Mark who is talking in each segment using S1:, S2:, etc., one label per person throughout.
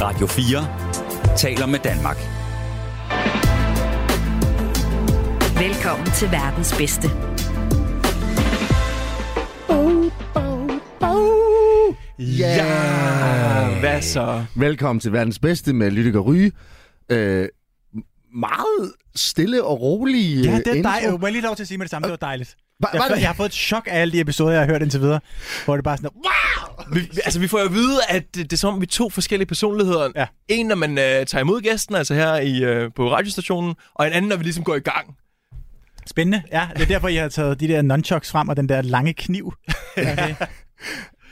S1: Radio 4 taler med Danmark.
S2: Velkommen til verdens bedste.
S3: Ja, hvad så?
S4: Velkommen til verdens bedste med Lytte og Ryge. Øh, meget stille og rolig
S3: Ja,
S4: øh,
S3: det er
S4: intro. Øh,
S3: dejligt. Må jeg lige lov til at sige med det samme? Det var dejligt.
S4: Var-
S3: jeg,
S4: var
S3: har-
S4: det?
S3: jeg har fået et chok af alle de episoder, jeg har hørt indtil videre, hvor det bare er sådan, wow!
S5: Vi, vi- altså, vi får jo at vide, at det, det er som om, vi er to forskellige personligheder.
S3: Ja.
S5: En, når man øh, tager imod gæsten, altså her i, øh, på radiostationen, og en anden, når vi ligesom går i gang.
S3: Spændende. Ja, det er derfor, I har taget de der nunchucks frem og den der lange kniv. Okay.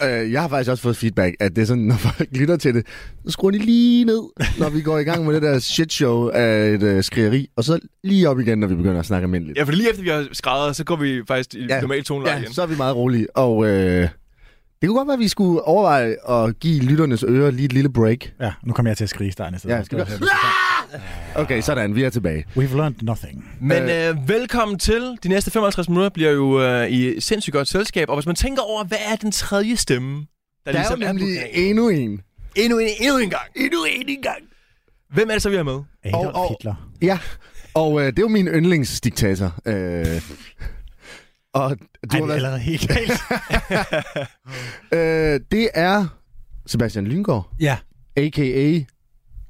S4: Øh, jeg har faktisk også fået feedback, at det er sådan, når folk lytter til det, så skruer de lige ned, når vi går i gang med det der shit show af et øh, skrigeri, og så lige op igen, når vi begynder at snakke almindeligt.
S5: Ja, for lige efter vi har skrædder, så går vi faktisk i ja. normal toneleje
S4: ja,
S5: igen.
S4: så er vi meget rolige. Og øh, det kunne godt være, at vi skulle overveje at give lytternes ører lige et lille break.
S3: Ja, nu kommer jeg til at skrige i starten. af stedet.
S4: Ja, skal vi... Okay, sådan, vi er tilbage.
S3: We've learned nothing.
S5: Men øh, velkommen til. De næste 55 minutter bliver jo øh, i sindssygt godt selskab. Og hvis man tænker over, hvad er den tredje stemme, der,
S4: Der er jo
S5: ligesom
S4: nemlig
S5: på kanalen?
S4: endnu en.
S5: endnu en, endnu en gang. Endnu en, en gang. Hvem er det så, vi har med?
S3: Adolf
S4: og-
S3: Hitler.
S4: Ja, og øh, det er jo min yndlingsdiktator. Øh, og du
S3: Ej,
S4: har
S3: det er
S4: været,
S3: allerede helt galt.
S4: øh, det er Sebastian Lyngård,
S3: ja,
S4: a.k.a.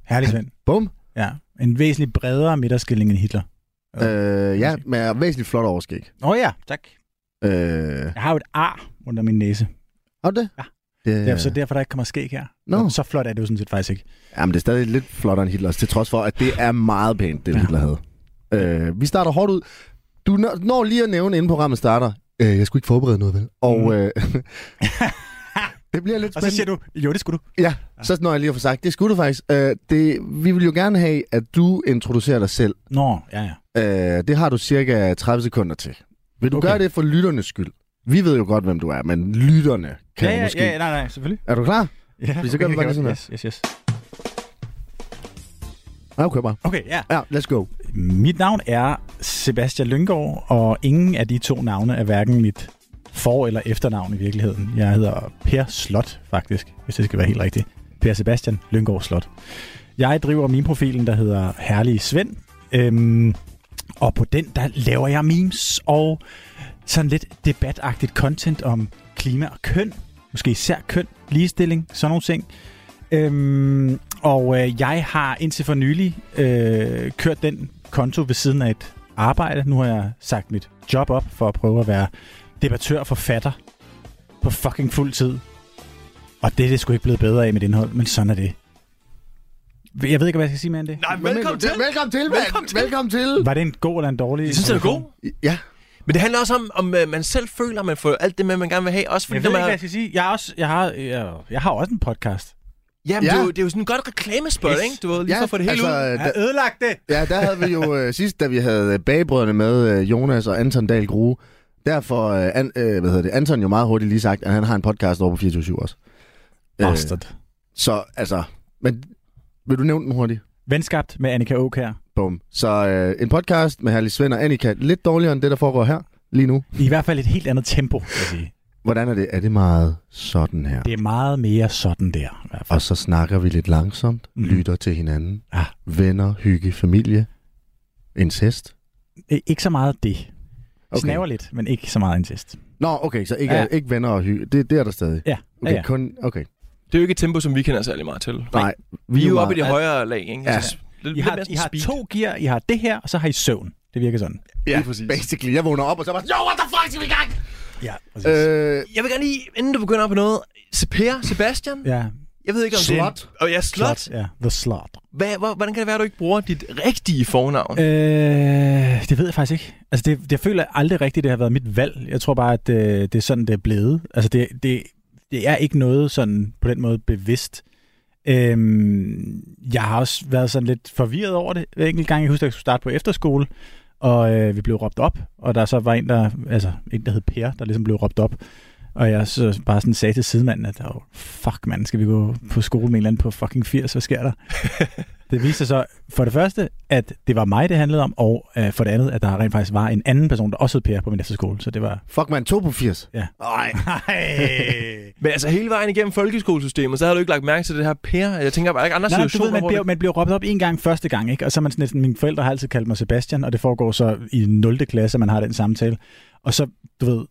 S3: herlig Svend.
S4: Bum.
S3: Ja, en væsentligt bredere midterskilling end Hitler.
S4: Øh, ja, med væsentligt flot overskæg.
S3: Åh oh, ja, tak.
S4: Øh,
S3: Jeg har jo et ar under min næse.
S4: har du det?
S3: Ja.
S4: Det,
S3: Det er så derfor, der ikke kommer skæg her.
S4: Nå.
S3: Så flot er det jo sådan set faktisk ikke.
S4: Jamen, det er stadig lidt flottere end Hitlers, til trods for, at det er meget pænt, det
S3: Ja.
S4: Hitler havde. Øh, vi starter hårdt ud. Du når- når lige at nævne, inden programmet starter, øh, jeg skulle ikke forberede noget, vel? Og
S3: Mm.
S4: øh, det bliver lidt
S3: Og så
S4: spændende.
S3: siger du, jo, det skulle du.
S4: Ja, så når jeg lige har fået sagt, det skulle du faktisk. Øh, det, vi vil jo gerne have, at du introducerer dig selv.
S3: Nå, ja, ja.
S4: Øh, det har du cirka 30 sekunder til. Vil du
S3: Okay.
S4: okay. gøre det for lytternes skyld? Vi ved jo godt, hvem du er, men lytterne kan
S3: ja, ja,
S4: måske...
S3: ja, ja, nej, nej, selvfølgelig.
S4: Er du klar?
S3: Ja,
S4: Fordi så gør vi bare lige sådan her.
S3: yes, yes, yes.
S4: Ja, okay, bare.
S3: Okay, ja.
S4: Ja, let's go.
S3: Mit navn er Sebastian Lyngård, og ingen af de to navne er hverken mit for- eller efternavn i virkeligheden. Jeg hedder Per Slot, faktisk, hvis det skal være helt rigtigt. Per Sebastian Lyngård Slot. Jeg driver min profilen, der hedder Herlige Svend, øhm, og på den, der laver jeg memes og sådan lidt debatagtigt content om klima og køn. Måske især køn, ligestilling, sådan nogle ting. Øhm, og øh, jeg har indtil for nylig øh, kørt den konto ved siden af et arbejde. Nu har jeg sagt mit job op for at prøve at være debattør og forfatter på fucking fuld tid. Og det er det sgu ikke blevet bedre af med indhold, men sådan er det. Jeg ved ikke, hvad jeg skal sige mere end det.
S5: Nej,
S4: Hvad mener du?
S5: velkommen til.
S4: Det- Velkommen til, mand.
S5: Velkommen til.
S4: Velkommen til.
S3: Var det en god eller en dårlig?
S5: Jeg synes, det er god.
S4: Ja,
S5: Men det handler også om, om øh, man selv føler, man får alt det med, man gerne vil have. Også fordi,
S3: Jeg ved
S5: når
S3: ikke,
S5: man
S3: hvad
S5: har-
S3: jeg skal sige. Jeg, er også, jeg, har, jeg, jeg har også en podcast.
S5: Jamen, ja.
S4: Ja.
S5: det, er jo, det er jo sådan en godt reklamespot,
S3: Yes.
S5: yes. ikke? Du ved, lige
S4: ja øh,
S5: ja, for at få det hele altså, ud.
S4: da,
S3: ødelagt det!
S4: ja, der havde vi jo øh, sidst, da vi havde øh, bagbrødrene med øh, Jonas og Anton Dahl Grue, derfor øh, an, øh, hvad hedder det, Anton jo meget hurtigt lige sagt, at han har en podcast over på 24 også.
S5: Øh.
S4: Øh,
S3: Bastard.
S4: Så altså, men vil du nævne den hurtigt?
S3: Venskabt med Annika Aukær.
S4: Bum. Så øh, en podcast med Herlig Svend og Annika, lidt dårligere end det, der foregår her lige nu.
S3: I hvert fald et helt andet tempo, vil jeg sige.
S4: Hvordan er det? Er det meget sådan her?
S3: Det er meget mere sådan der. I hvert fald.
S4: Og så snakker vi lidt langsomt,
S3: Mhm.
S4: mm. lytter til hinanden,
S3: Ah.
S4: venner, hygge, familie, incest.
S3: Øh, Ikke så meget det. Okay.
S4: Okay.
S3: Snaver lidt, men ikke så meget incest.
S4: Nå, okay, så ikke,
S3: Ja.
S4: ja. ikke venner og hygge. Det, det er der stadig.
S3: Ja,
S4: Okay,
S3: ja, ja.
S4: kun... Okay.
S5: Det er jo ikke et tempo, som vi kender særlig meget til.
S4: Nej,
S5: Vi er jo oppe i
S4: meget-
S5: det højere lag, ikke? Altså,
S4: Ja.
S5: lidt,
S3: I
S5: lidt
S3: har,
S5: mere
S3: I har
S5: speed.
S3: to gear, I har det her, og så har I søvn. Det virker sådan.
S4: Ja,
S5: Lige præcis.
S4: basically. Jeg vågner op, og så bare... Jo, what the fuck, skal vi i gang?
S3: Ja, præcis.
S4: Øh,
S5: Jeg vil gerne lige, inden du begynder på noget, Se- Per, Sebastian, ja.
S3: ja,
S5: jeg ved ikke om det
S4: Slot.
S5: er... Og ja, Slot.
S3: slot. Ja, the slot.
S5: Hvad, hvor, hvordan kan det være, at du ikke bruger dit rigtige fornavn?
S3: Øh, det ved jeg faktisk ikke. Altså, det, det- jeg føler aldrig rigtigt, det har været mit valg. Jeg tror bare, at øh, det er sådan, det er blevet. Altså, det, det, det er ikke noget sådan på den måde bevidst. Øhm, jeg har også været sådan lidt forvirret over det. Hver enkelt gang, jeg husker, at jeg skulle starte på efterskole, og øh, vi blev råbt op, og der så var en, der, altså, en, der hed Per, der ligesom blev råbt op. Og jeg så bare sådan sagde til sidemanden, at oh, fuck mand, skal vi gå på skole med en eller anden på fucking 80, hvad sker der? Det viste sig så for det første, at det var mig, det handlede om, og øh, for det andet, at der rent faktisk var en anden person, der også hed Per på min efterskole. Så det var...
S4: Fuck, man. 2 på 80.
S3: Ja.
S4: Nej.
S3: Nej.
S5: Men altså hele vejen igennem folkeskolesystemet, så havde du ikke lagt mærke til det her Per. Jeg tænker, var der ikke andre
S3: Nej, du ved,
S5: situationer,
S3: man bliver, man bliver råbt op en gang første gang, ikke? og så er man sådan, lidt sådan, mine forældre har altid kaldt mig Sebastian, og det foregår så i 0. klasse, man har den samtale. Og så, du ved,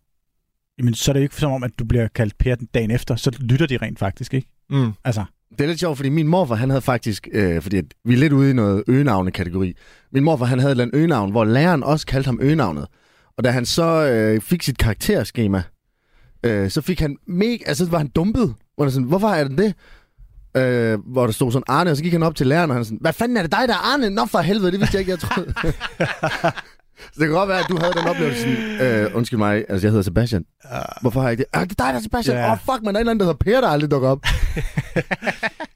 S3: jamen, så er det jo ikke som om, at du bliver kaldt Per den dagen efter, så lytter de rent faktisk, ikke?
S5: hvor... mm.
S3: Altså,
S4: Det er lidt sjovt, fordi min morfar, han havde faktisk... Øh, fordi at vi er lidt ude i noget øgenavne-kategori. Min morfar, han havde et eller andet øgenavn, hvor læreren også kaldte ham øgenavnet. Og da han så øh, fik sit karakterskema, øh, så fik han mega... Altså, så var han dumpet. Hvor han sådan, hvorfor er det det? Øh, hvor der stod sådan Arne, og så gik han op til læreren, og han sådan, hvad fanden er det dig, der er Arne? Nå for helvede, det vidste jeg ikke, jeg troede. så det kan godt være, at du havde den oplevelse. sådan, Øh, undskyld mig, altså jeg hedder Sebastian. Hvorfor har jeg ikke det? Ah, det er dig, der er Sebastian. Åh,
S3: Ja.
S4: yeah. oh, fuck, man, der er en eller anden, der hedder Per, der aldrig dukker op.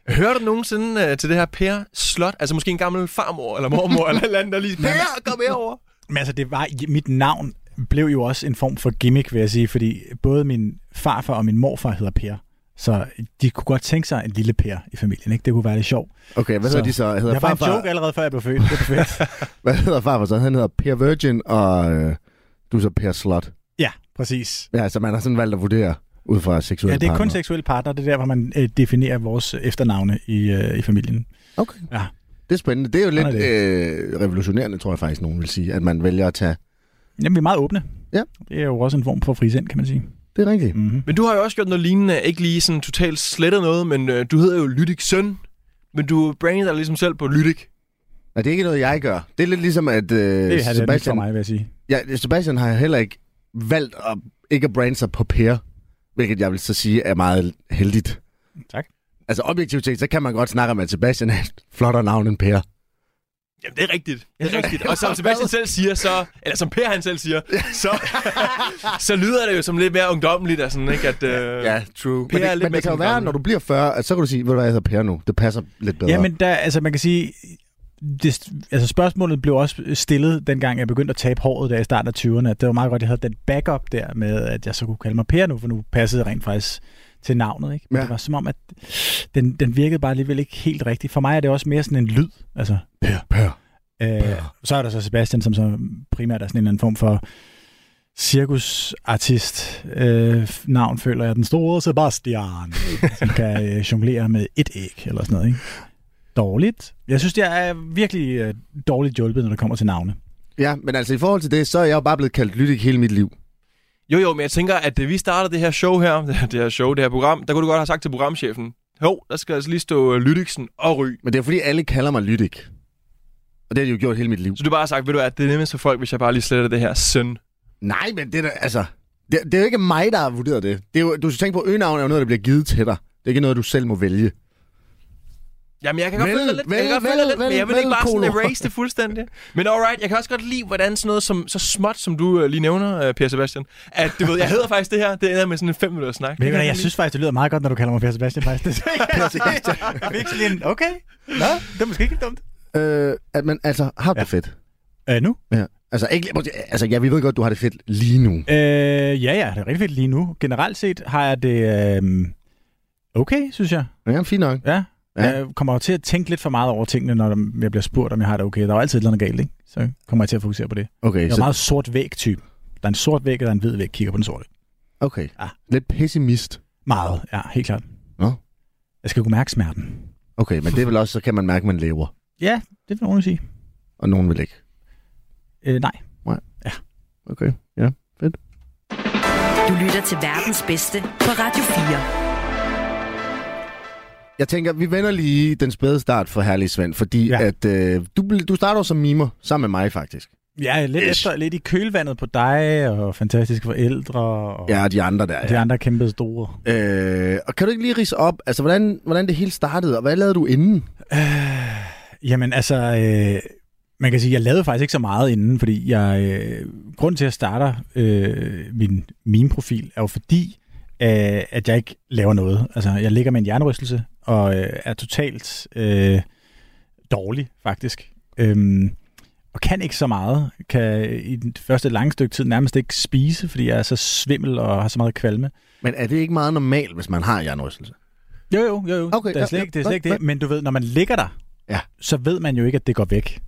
S5: Hører du nogensinde øh, til det her Per Slot? Altså måske en gammel farmor eller mormor eller et eller andet, der lige... Per, kom herover.
S3: Men altså, det var, mit navn blev jo også en form for gimmick, vil jeg sige, fordi både min farfar og min morfar hedder Per. Så de kunne godt tænke sig en lille Per i familien, ikke? Det kunne være lidt sjovt.
S4: Okay, hvad
S3: Så-
S4: så. hedder de så? Hedder
S3: Jeg var en
S4: farfar-
S3: joke allerede, før jeg blev født. Det er perfekt.
S4: Hvad hedder farfar så? Han hedder Per Virgin, og øh, du er så Per Slot.
S3: ja, præcis.
S4: Ja, så man har sådan valgt at vurdere ud fra seksuelle
S3: Ja, det er kun
S4: partnere.
S3: seksuelle partner. Det er der, hvor man øh, definerer vores efternavne i, øh, i familien.
S4: Okay.
S3: Ja.
S4: Det er spændende. Det er jo lidt
S3: Sådan
S4: øh, revolutionerende, tror jeg faktisk, nogen vil sige, at man vælger at tage...
S3: Jamen, vi er meget åbne.
S4: Ja.
S3: Det er jo også en form for frisind, kan man sige.
S4: Det er rigtigt.
S3: Mm-hmm.
S5: Men du har jo også gjort noget lignende. Ikke lige sådan totalt slettet noget, men øh, du hedder jo Lydik Søn. Men du brander dig ligesom selv på Lydik.
S4: Nej, det er ikke noget, jeg gør. Det er lidt ligesom, at øh,
S3: Det er det nyt for
S4: Sebastian...
S3: mig, vil jeg sige.
S4: ja, Sebastian har heller ikke valgt at, ikke at brande sig på Per, hvilket jeg vil så sige er meget heldigt.
S3: Tak.
S4: Altså objektivt set, så kan man godt snakke om, at Sebastian er et flottere navn end Per.
S5: Jamen, det er rigtigt. Det er rigtigt. Og som Sebastian selv siger, så... Eller som Per han selv siger, så, så lyder det jo som lidt mere ungdommeligt og sådan, ikke? At, øh,
S4: Ja, true.
S5: Per
S4: men
S5: er
S4: det,
S5: lidt
S4: men
S5: mere
S4: det kan jo
S5: sådan
S4: være,
S5: gammel.
S4: når du bliver 40, at så kan du sige, ved du hvad, jeg hedder Per nu. Det passer lidt bedre.
S3: Ja, men der, altså man kan sige, det, altså spørgsmålet blev også stillet, dengang jeg begyndte at tabe håret der i starten af 20'erne, at det var meget godt, at jeg havde den backup der med, at jeg så kunne kalde mig Per nu, for nu passede jeg rent faktisk til navnet. Ikke? Men
S4: Ja.
S3: ja. det var som om, at den, den virkede bare alligevel ikke helt rigtigt. For mig er det også mere sådan en lyd. Altså,
S4: Per, Per.
S3: Øh, så er der så Sebastian, som så primært er sådan en eller anden form for cirkusartist. Øh, f- navn føler jeg den store Sebastian, som kan øh, jonglere med et æg eller sådan noget. Ikke? Dårligt. Jeg synes, jeg er virkelig øh, dårligt hjulpet, når det kommer til navne.
S4: Ja, men altså i forhold til det, så er jeg jo bare blevet kaldt lytik hele mit liv.
S5: Jo, jo, men jeg tænker, at da vi startede det her show her, det her show, det her program, der kunne du godt have sagt til programchefen, jo, der skal altså lige stå øh, Lydiksen og Ry.
S4: Men det er fordi, alle kalder mig lytik. Og det har de jo gjort hele mit liv.
S5: Så du bare har sagt, ved du at det er nemmest for folk, hvis jeg bare lige sletter det her søn.
S4: Nej, men det er da, altså... Det, det, er jo ikke mig, der har vurderet det. det er jo, du skal tænke på, at øgenavn er jo noget, der bliver givet til dig. Det er ikke noget, du selv må vælge.
S5: Jamen, jeg kan godt
S4: Vel,
S5: følge dig lidt,
S4: vel,
S5: jeg kan godt
S4: vel,
S5: følge dig lidt
S4: vel,
S5: men jeg vil
S4: vel,
S5: ikke bare sådan
S4: Polo.
S5: erase det fuldstændig. Men alright, jeg kan også godt lide, hvordan sådan noget som, så småt, som du øh, lige nævner, øh, Per Sebastian, at du ved, jeg hedder faktisk det her, det ender med sådan en fem minutter snak.
S3: Men
S5: Det
S3: jeg,
S5: kan
S3: jeg
S5: lide.
S3: synes faktisk, det lyder meget godt, når du kalder mig Per Sebastian. Faktisk. jeg fik sådan en, okay, Nå, det er måske ikke helt dumt.
S4: Øh, at man altså har det
S3: Ja.
S4: fedt.
S3: Øh, nu?
S4: Ja. Altså, ikke, altså, ja, vi ved godt, du har det fedt lige nu.
S3: Øh, ja, ja, det er rigtig fedt lige nu. Generelt set har jeg det øh, okay, synes jeg.
S4: Ja, fint nok.
S3: Ja.
S4: Ja.
S3: ja. Jeg kommer jo til at tænke lidt for meget over tingene, når jeg bliver spurgt, om jeg har det okay. Der er jo altid et eller andet galt, ikke? Så kommer jeg til at fokusere på det.
S4: Okay,
S3: Jeg er
S4: så,
S3: meget sort væg-type. Der er en sort væg, og der er en hvid væg. Kigger på den sorte.
S4: okay.
S3: Ah.
S4: Lidt pessimist.
S3: Meget, ja, helt klart.
S4: Nå.
S3: Jeg skal kunne mærke smerten.
S4: Okay, men det er vel også, så kan man mærke, at man lever.
S3: Ja, det vil nogen sige.
S4: Og nogen vil ikke.
S3: Øh, nej.
S4: Okay, ja. Fedt.
S2: Du lytter til verdens bedste på Radio 4.
S4: Jeg tænker, vi vender lige den spæde start for Herlig Svend, fordi ja.
S3: Ja.
S4: at, øh, du, blev- du starter jo som mimer, sammen med mig faktisk.
S3: Ja, lidt,
S4: Ish.
S3: efter, lidt i kølvandet på dig, og fantastiske forældre, og
S4: Ja, og de andre der.
S3: og
S4: Ja.
S3: de andre kæmpe store.
S4: Øh, og kan du ikke lige rise op, altså hvordan, hvordan det hele startede, og hvad lavede du inden?
S3: Jamen altså, øh, man kan sige, jeg lavede faktisk ikke så meget inden, fordi jeg, øh, grunden til, at jeg starter øh, min meme-profil, er jo fordi, øh, at jeg ikke laver noget. Altså, jeg ligger med en hjernerystelse, og øh, er totalt øh, dårlig, faktisk. Øhm, og kan ikke så meget. Kan i det første lange stykke tid nærmest ikke spise, fordi jeg er så svimmel og har så meget kvalme.
S4: Men er det ikke meget normalt, hvis man har hjernerystelse?
S3: Jo, jo, jo, jo.
S4: Okay,
S3: det er
S4: ja,
S3: slet
S4: ja,
S3: ikke det. Er
S4: ja,
S3: slet ikke
S4: ja.
S3: det. Men du ved, når man ligger der,
S4: Ja.
S3: så ved man jo ikke, at det går væk.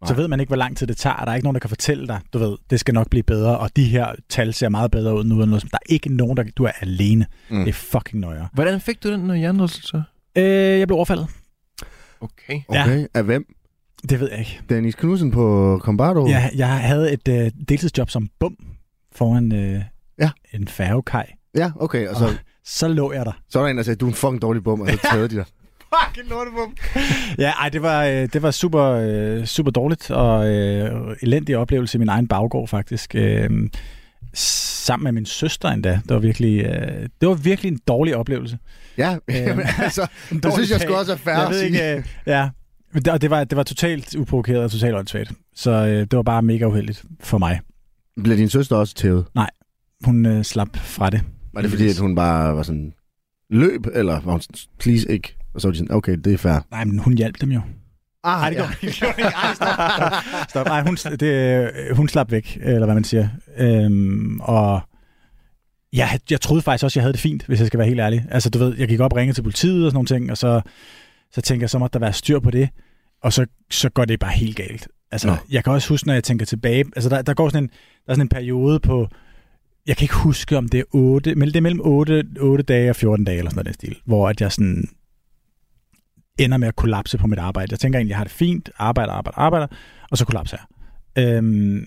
S3: Nej. Så
S4: Nej.
S3: ved man ikke, hvor lang tid det tager. Der er ikke nogen, der kan fortælle dig, du ved, det skal nok blive bedre, og de her tal ser meget bedre ud nu. Eller noget. som- Der er ikke nogen, der... Du er alene.
S4: Mm.
S3: Mm. Det er fucking nøjere.
S5: Hvordan fik du den når hjernerystelse?
S3: Øh, jeg blev overfaldet.
S5: Okay.
S4: Okay, ja. af hvem?
S3: Det ved jeg ikke.
S4: Dennis Knudsen på Combardo?
S3: Jeg, jeg havde et øh, deltidsjob som bum foran øh,
S4: Ja. Altså-
S3: en færgekaj.
S4: Ja, okay. Og så,
S3: Åh. Så lå jeg der.
S4: så er der en, der sagde, du er en fucking dårlig bum, og så tager de dig. fucking lortebum.
S3: Ja, ej, det var, øh, det var super, øh, super dårligt og øh, elendig oplevelse i min egen baggård faktisk. Øh, sammen med min søster endda. Det var virkelig, øh, det var virkelig en dårlig oplevelse.
S4: Ja,
S3: Øhm.
S4: jamen, altså, det synes jeg sgu også er færre
S3: jeg
S4: at
S3: ved
S4: sige.
S3: ikke, øh, ja. Men det- Og det var, det var totalt uprovokeret og totalt åndssvagt. Så øh, det var bare mega uheldigt for mig.
S4: Bliver din søster også tævet?
S3: Hun øh, slap fra det.
S4: Var det fordi, at hun bare var sådan, løb, eller var hun sådan, please ikke? Og så var de sådan, okay, det er fair.
S3: Nej, men hun hjalp dem jo.
S4: Ah,
S3: Nej, det går ikke. Ej, stop, stop, stop. Ej, hun, det, øh, hun slap væk, eller hvad man siger. Øhm, og jeg, jeg troede faktisk også, jeg havde det fint, hvis jeg skal være helt ærlig. Altså, du ved, jeg gik op og ringede til politiet og sådan nogle ting, og så, så tænker jeg, så må der være styr på det. Og så, så går det bare helt galt. Altså,
S4: Nå.
S3: Nå. jeg kan også huske, når jeg tænker tilbage, altså der, der går sådan en, der er sådan en periode på, jeg kan ikke huske, om det er 8, men det er mellem 8, 8 dage og 14 dage, eller sådan noget i den stil, hvor at jeg sådan, ender med at kollapse på mit arbejde. Jeg tænker egentlig, jeg har det fint, arbejder, arbejder, arbejder, og så kollapser jeg. Øhm,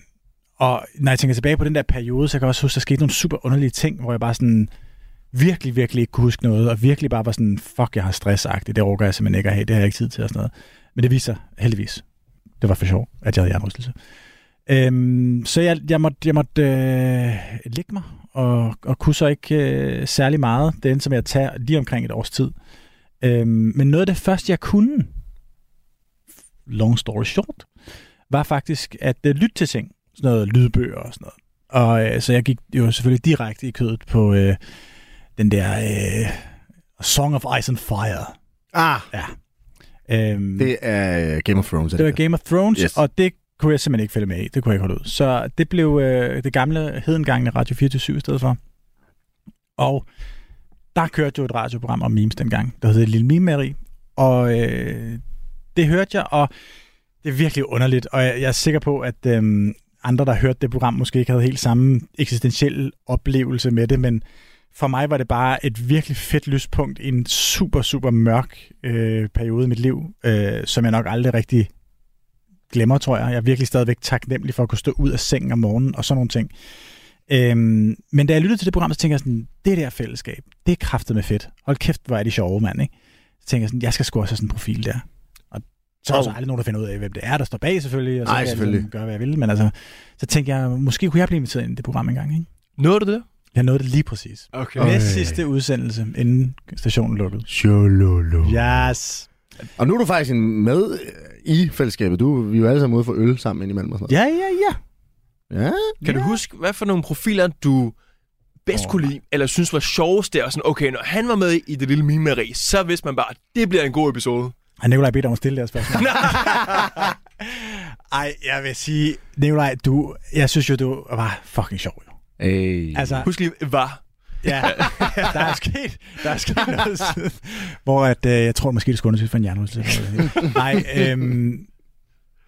S3: og når jeg tænker tilbage på den der periode, så kan jeg også huske, der skete nogle super underlige ting, hvor jeg bare sådan virkelig, virkelig ikke kunne huske noget, og virkelig bare var sådan, fuck, jeg har stressagtigt, det rokker jeg simpelthen ikke at have, det har jeg ikke tid til og sådan noget. Men det viser heldigvis, det var for sjov, at jeg havde hjernerystelse. Øhm, så jeg, jeg måtte, jeg måtte øh, ligge mig, og, og kunne så ikke øh, særlig meget. Det endte som jeg tager lige omkring et års tid. Øhm, men noget af det første, jeg kunne, long story short, var faktisk at øh, lytte til ting. Sådan noget lydbøger og sådan noget. Og øh, så jeg gik jo selvfølgelig direkte i kødet på øh, den der øh, Song of Ice and Fire.
S4: Ah,
S3: Øhm,
S4: det er øh, Game of Thrones. er
S3: det var Game of Thrones,
S4: Yes.
S3: yes. og det kunne jeg simpelthen ikke følge med i. Det kunne jeg ikke holde ud. Så det blev øh, det gamle hedengangne Radio 24 i stedet for. Og der kørte jo et radioprogram om memes dengang, der hed Lille Meme Marie. Og øh, det hørte jeg, og det er virkelig underligt. Og jeg, jeg er sikker på, at øh, andre, der hørte det program, måske ikke havde helt samme eksistentielle oplevelse med det, men for mig var det bare et virkelig fedt lyspunkt i en super, super mørk øh, periode i mit liv, øh, som jeg nok aldrig rigtig glemmer, tror jeg. Jeg er virkelig stadigvæk taknemmelig for at kunne stå ud af sengen om morgenen og sådan nogle ting. Øhm, men da jeg lyttede til det program, så tænkte jeg sådan, det der fællesskab, det er kraftet med fedt. Hold kæft, hvor er de sjove, mand, ikke? Så tænkte jeg sådan, jeg skal sgu også have sådan en profil der. Og så er der så aldrig nogen, der finder ud af, hvem det er, der står bag selvfølgelig. Og så
S4: Nej,
S3: kan jeg
S4: selvfølgelig.
S3: Ligesom gøre, hvad jeg vil. Men altså, så tænkte jeg, måske kunne jeg blive inviteret ind i det program engang, ikke?
S5: Nåede du det?
S3: Jeg nåede det lige præcis.
S5: Okay.
S4: Åh.
S5: Men,
S4: Øj.
S3: Næst sidste udsendelse, inden stationen lukkede.
S4: Shololo.
S3: Yes.
S4: Og nu er du faktisk en med øh, i fællesskabet. Du, vi er jo alle sammen ude for øl sammen indimellem og sådan
S3: Ja, ja, ja.
S4: noget. Ja.
S5: kan du huske, hvad for nogle profiler, du bedst
S3: Åh,
S5: kunne lide, eller synes var sjovest der? Og sådan, okay, når han var med i det lille mimeri, så vidste man bare, at det bliver en god episode.
S3: Har Nikolaj bedt om at stille det her spørgsmål? Ej, jeg vil sige, Nikolaj, du, jeg synes jo, du var fucking sjov. Jo.
S4: Hey.
S3: Altså,
S5: Husk lige, var.
S3: ja, der er sket, der er sket noget siden, hvor at, øh, jeg tror måske, det skulle undersøges for en hjernerystelse. eller noget. Nej, øhm,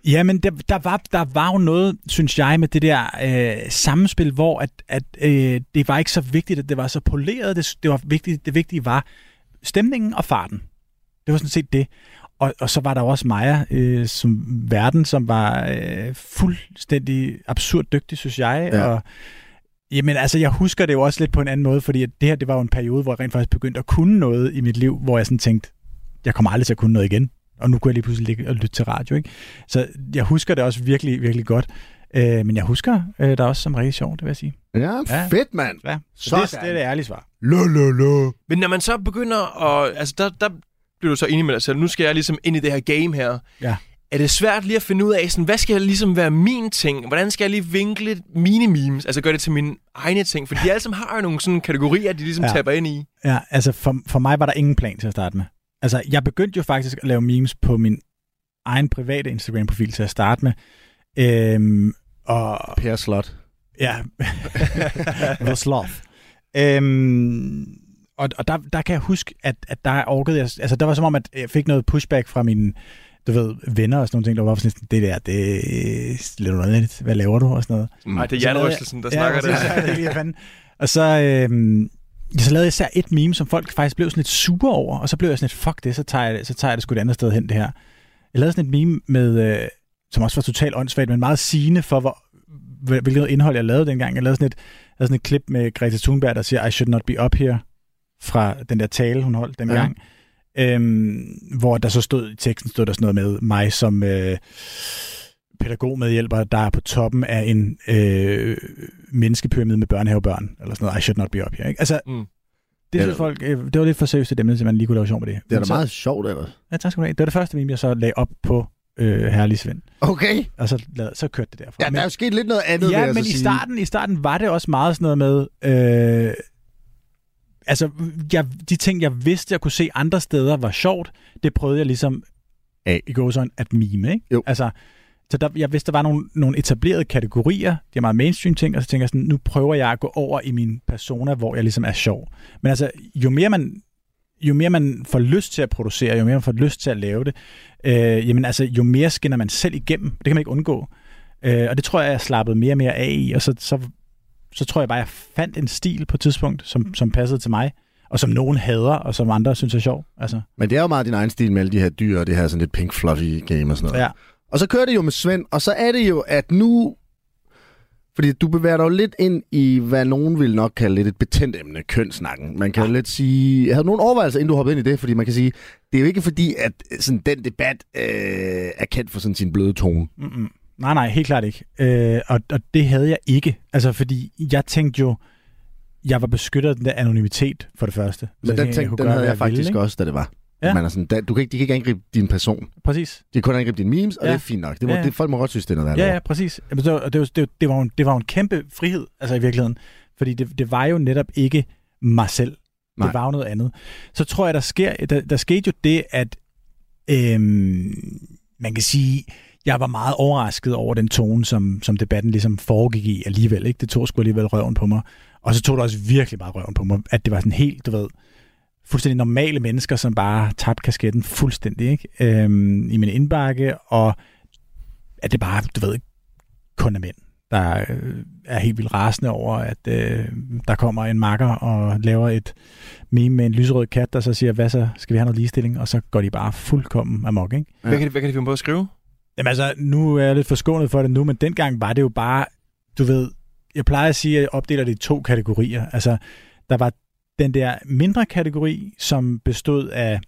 S3: jamen, der, der, var, der var jo noget, synes jeg, med det der øh, samspil, hvor at, at, øh, det var ikke så vigtigt, at det var så poleret. Det, det, var vigtigt, det vigtige var stemningen og farten. Det var sådan set det. Og, og så var der jo også Maja øh, som verden, som var øh, fuldstændig absurd dygtig, synes jeg.
S4: Ja.
S3: Ja. Og, jamen altså, jeg husker det jo også lidt på en anden måde, fordi at det her, det var jo en periode, hvor jeg rent faktisk begyndte at kunne noget i mit liv, hvor jeg sådan tænkte, jeg kommer aldrig til at kunne noget igen. Og nu kunne jeg lige pludselig ligge og lytte til radio, ikke? Så jeg husker det også virkelig, virkelig godt. Øh, men jeg husker øh, der også som rigtig sjovt, det vil jeg sige.
S4: Ja,
S3: Ja.
S4: fedt, mand.
S3: Ja. Så
S4: Sådan.
S3: det, det er det ærlige svar.
S4: Lololo.
S5: Men når man så begynder at... Altså, der, der bliver du så enig med dig selv. Nu skal jeg ligesom ind i det her game her.
S3: Ja.
S5: Er det svært lige at finde ud af, sådan, hvad skal jeg ligesom være min ting? Hvordan skal jeg lige vinkle mine memes? Altså gøre det til mine egne ting? For de alle sammen har jo nogle sådan kategorier, de ligesom ja.
S3: Ja.
S5: taber ind i.
S3: Ja, altså for, for mig var der ingen plan til at starte med. Altså, jeg begyndte jo faktisk at lave memes på min egen private Instagram-profil til at starte med. Øhm, og
S4: Per Slot.
S3: ja, The Sloth. Øhm, og og der, der kan jeg huske, at, at der orkede jeg, altså der var som om, at jeg fik noget pushback fra mine du ved, venner og sådan nogle ting, der var sådan lidt, det der, det er lidt underligt. Hvad laver du? Og sådan noget.
S4: Mm.
S5: Nej, det er hjernerystelsen, der snakker
S3: præcis,
S5: det.
S3: så er det. lige, fanden. Og så, øhm, ja, så lavede jeg især et meme, som folk faktisk blev sådan lidt sure over, og så blev jeg sådan lidt, fuck det, så tager jeg det, så tager jeg det sgu et andet sted hen, det her. Jeg lavede sådan et meme med, øh, som også var totalt åndssvagt, men meget sigende for, hvor, hvil- hvilket indhold jeg lavede dengang. Jeg lavede sådan et, jeg lavede sådan et klip med Greta Thunberg, der siger, I should not be up here, fra den der tale, hun holdt dengang. Ja. Øhm, hvor der så stod, i teksten stod der sådan noget med mig som øh, pædagogmedhjælper, der er på toppen af en øh, menneskepyramide med børnehavebørn, eller sådan noget, I should not be up here. Ikke? Altså,
S5: Mm.
S3: mm.
S4: Ja,
S3: det synes
S4: det-
S3: folk, øh, det var lidt for seriøst til dem, at man lige kunne lave sjov med det.
S4: Det er
S3: Men
S4: da
S3: så-
S4: meget sjovt, ellers.
S3: Ja, tak skal du have. Det var det første meme, jeg så lagde op på øh, Herlig Svend,
S4: Okay.
S3: og så, lad, så kørte det derfra.
S4: Ja, der er jo sket lidt noget andet, vil
S3: Ja,
S4: jeg
S3: men
S4: så
S3: i
S4: sige.
S3: starten, i starten var det også meget sådan noget med... Øh, altså, jeg, de ting, jeg vidste, jeg kunne se andre steder, var sjovt. Det prøvede jeg ligesom
S4: Af.
S3: i går sådan at mime, ikke?
S4: Jo.
S3: Altså, så der, jeg vidste, der var nogle, nogle etablerede kategorier. Det er meget mainstream ting, og så tænker jeg sådan, nu prøver jeg at gå over i min persona, hvor jeg ligesom er sjov. Men altså, jo mere man jo mere man får lyst til at producere, jo mere man får lyst til at lave det, øh, jamen altså, jo mere skinner man selv igennem. Det kan man ikke undgå. Øh, og det tror jeg, jeg slappede mere og mere af i, og så, så, så tror jeg bare, jeg fandt en stil på et tidspunkt, som, som passede til mig, og som nogen hader, og som andre synes er sjov. Altså,
S4: Men det er jo meget din egen stil med alle de her dyr og det her sådan lidt pink fluffy game og sådan noget.
S3: ja.
S4: Og så kører det jo med Svend, og så er det jo, at nu... Fordi du bevæger dig jo lidt ind i, hvad nogen vil nok kalde lidt et betændt emne, kønssnakken. Man kan jo lidt sige... Havde du nogen overvejelser, inden du hoppede ind i det? Fordi man kan sige, det er jo ikke fordi, at sådan, den debat øh, er kendt for sådan sin bløde tone.
S3: Mm-mm. Nej, nej, helt klart ikke. Øh, og, og det havde jeg ikke. Altså, fordi jeg tænkte jo, jeg var beskyttet af den der anonymitet, for det første. Så
S4: Men den,
S3: jeg
S4: tænk,
S3: kunne
S4: den
S3: gøre,
S4: havde
S3: hvad
S4: jeg faktisk
S3: ville, ikke?
S4: også, da det var.
S3: Ja.
S4: Ja. Man er sådan, da, du kan ikke, de kan ikke angribe din person.
S3: Præcis.
S4: De kan kun angribe dine memes, og
S3: Ja.
S4: det er fint nok. Det må,
S3: Ja, ja.
S4: Det, folk må godt synes, det er noget værd.
S3: Ja, ja, præcis. Jamen, det, var, det, var, det, var, det, var jo en, det var jo en kæmpe frihed, altså i virkeligheden. Fordi det, det var jo netop ikke mig selv. Nej.
S4: Nej.
S3: Det var jo noget andet. Så tror jeg, der, sker, der, der skete jo det, at øhm, man kan sige, jeg var meget overrasket over den tone, som, som debatten ligesom foregik i alligevel. Ikke? Det tog sgu alligevel røven på mig. Og så tog det også virkelig bare røven på mig, at det var sådan helt, du ved, fuldstændig normale mennesker, som bare tabte kasketten fuldstændig ikke? Øhm, i min indbakke, og at det bare, du ved, kun er mænd, der øh, er helt vildt rasende over, at øh, der kommer en makker og laver et meme med en lyserød kat, der så siger, hvad så, skal vi have noget ligestilling? Og så går de bare fuldkommen amok, ikke?
S5: Hvad kan, de, hvad kan de finde på at skrive?
S3: Jamen altså, nu er jeg lidt forskånet for det nu, men dengang var det jo bare, du ved, jeg plejer at sige, at jeg opdeler det i to kategorier. Altså, der var den der mindre kategori, som bestod af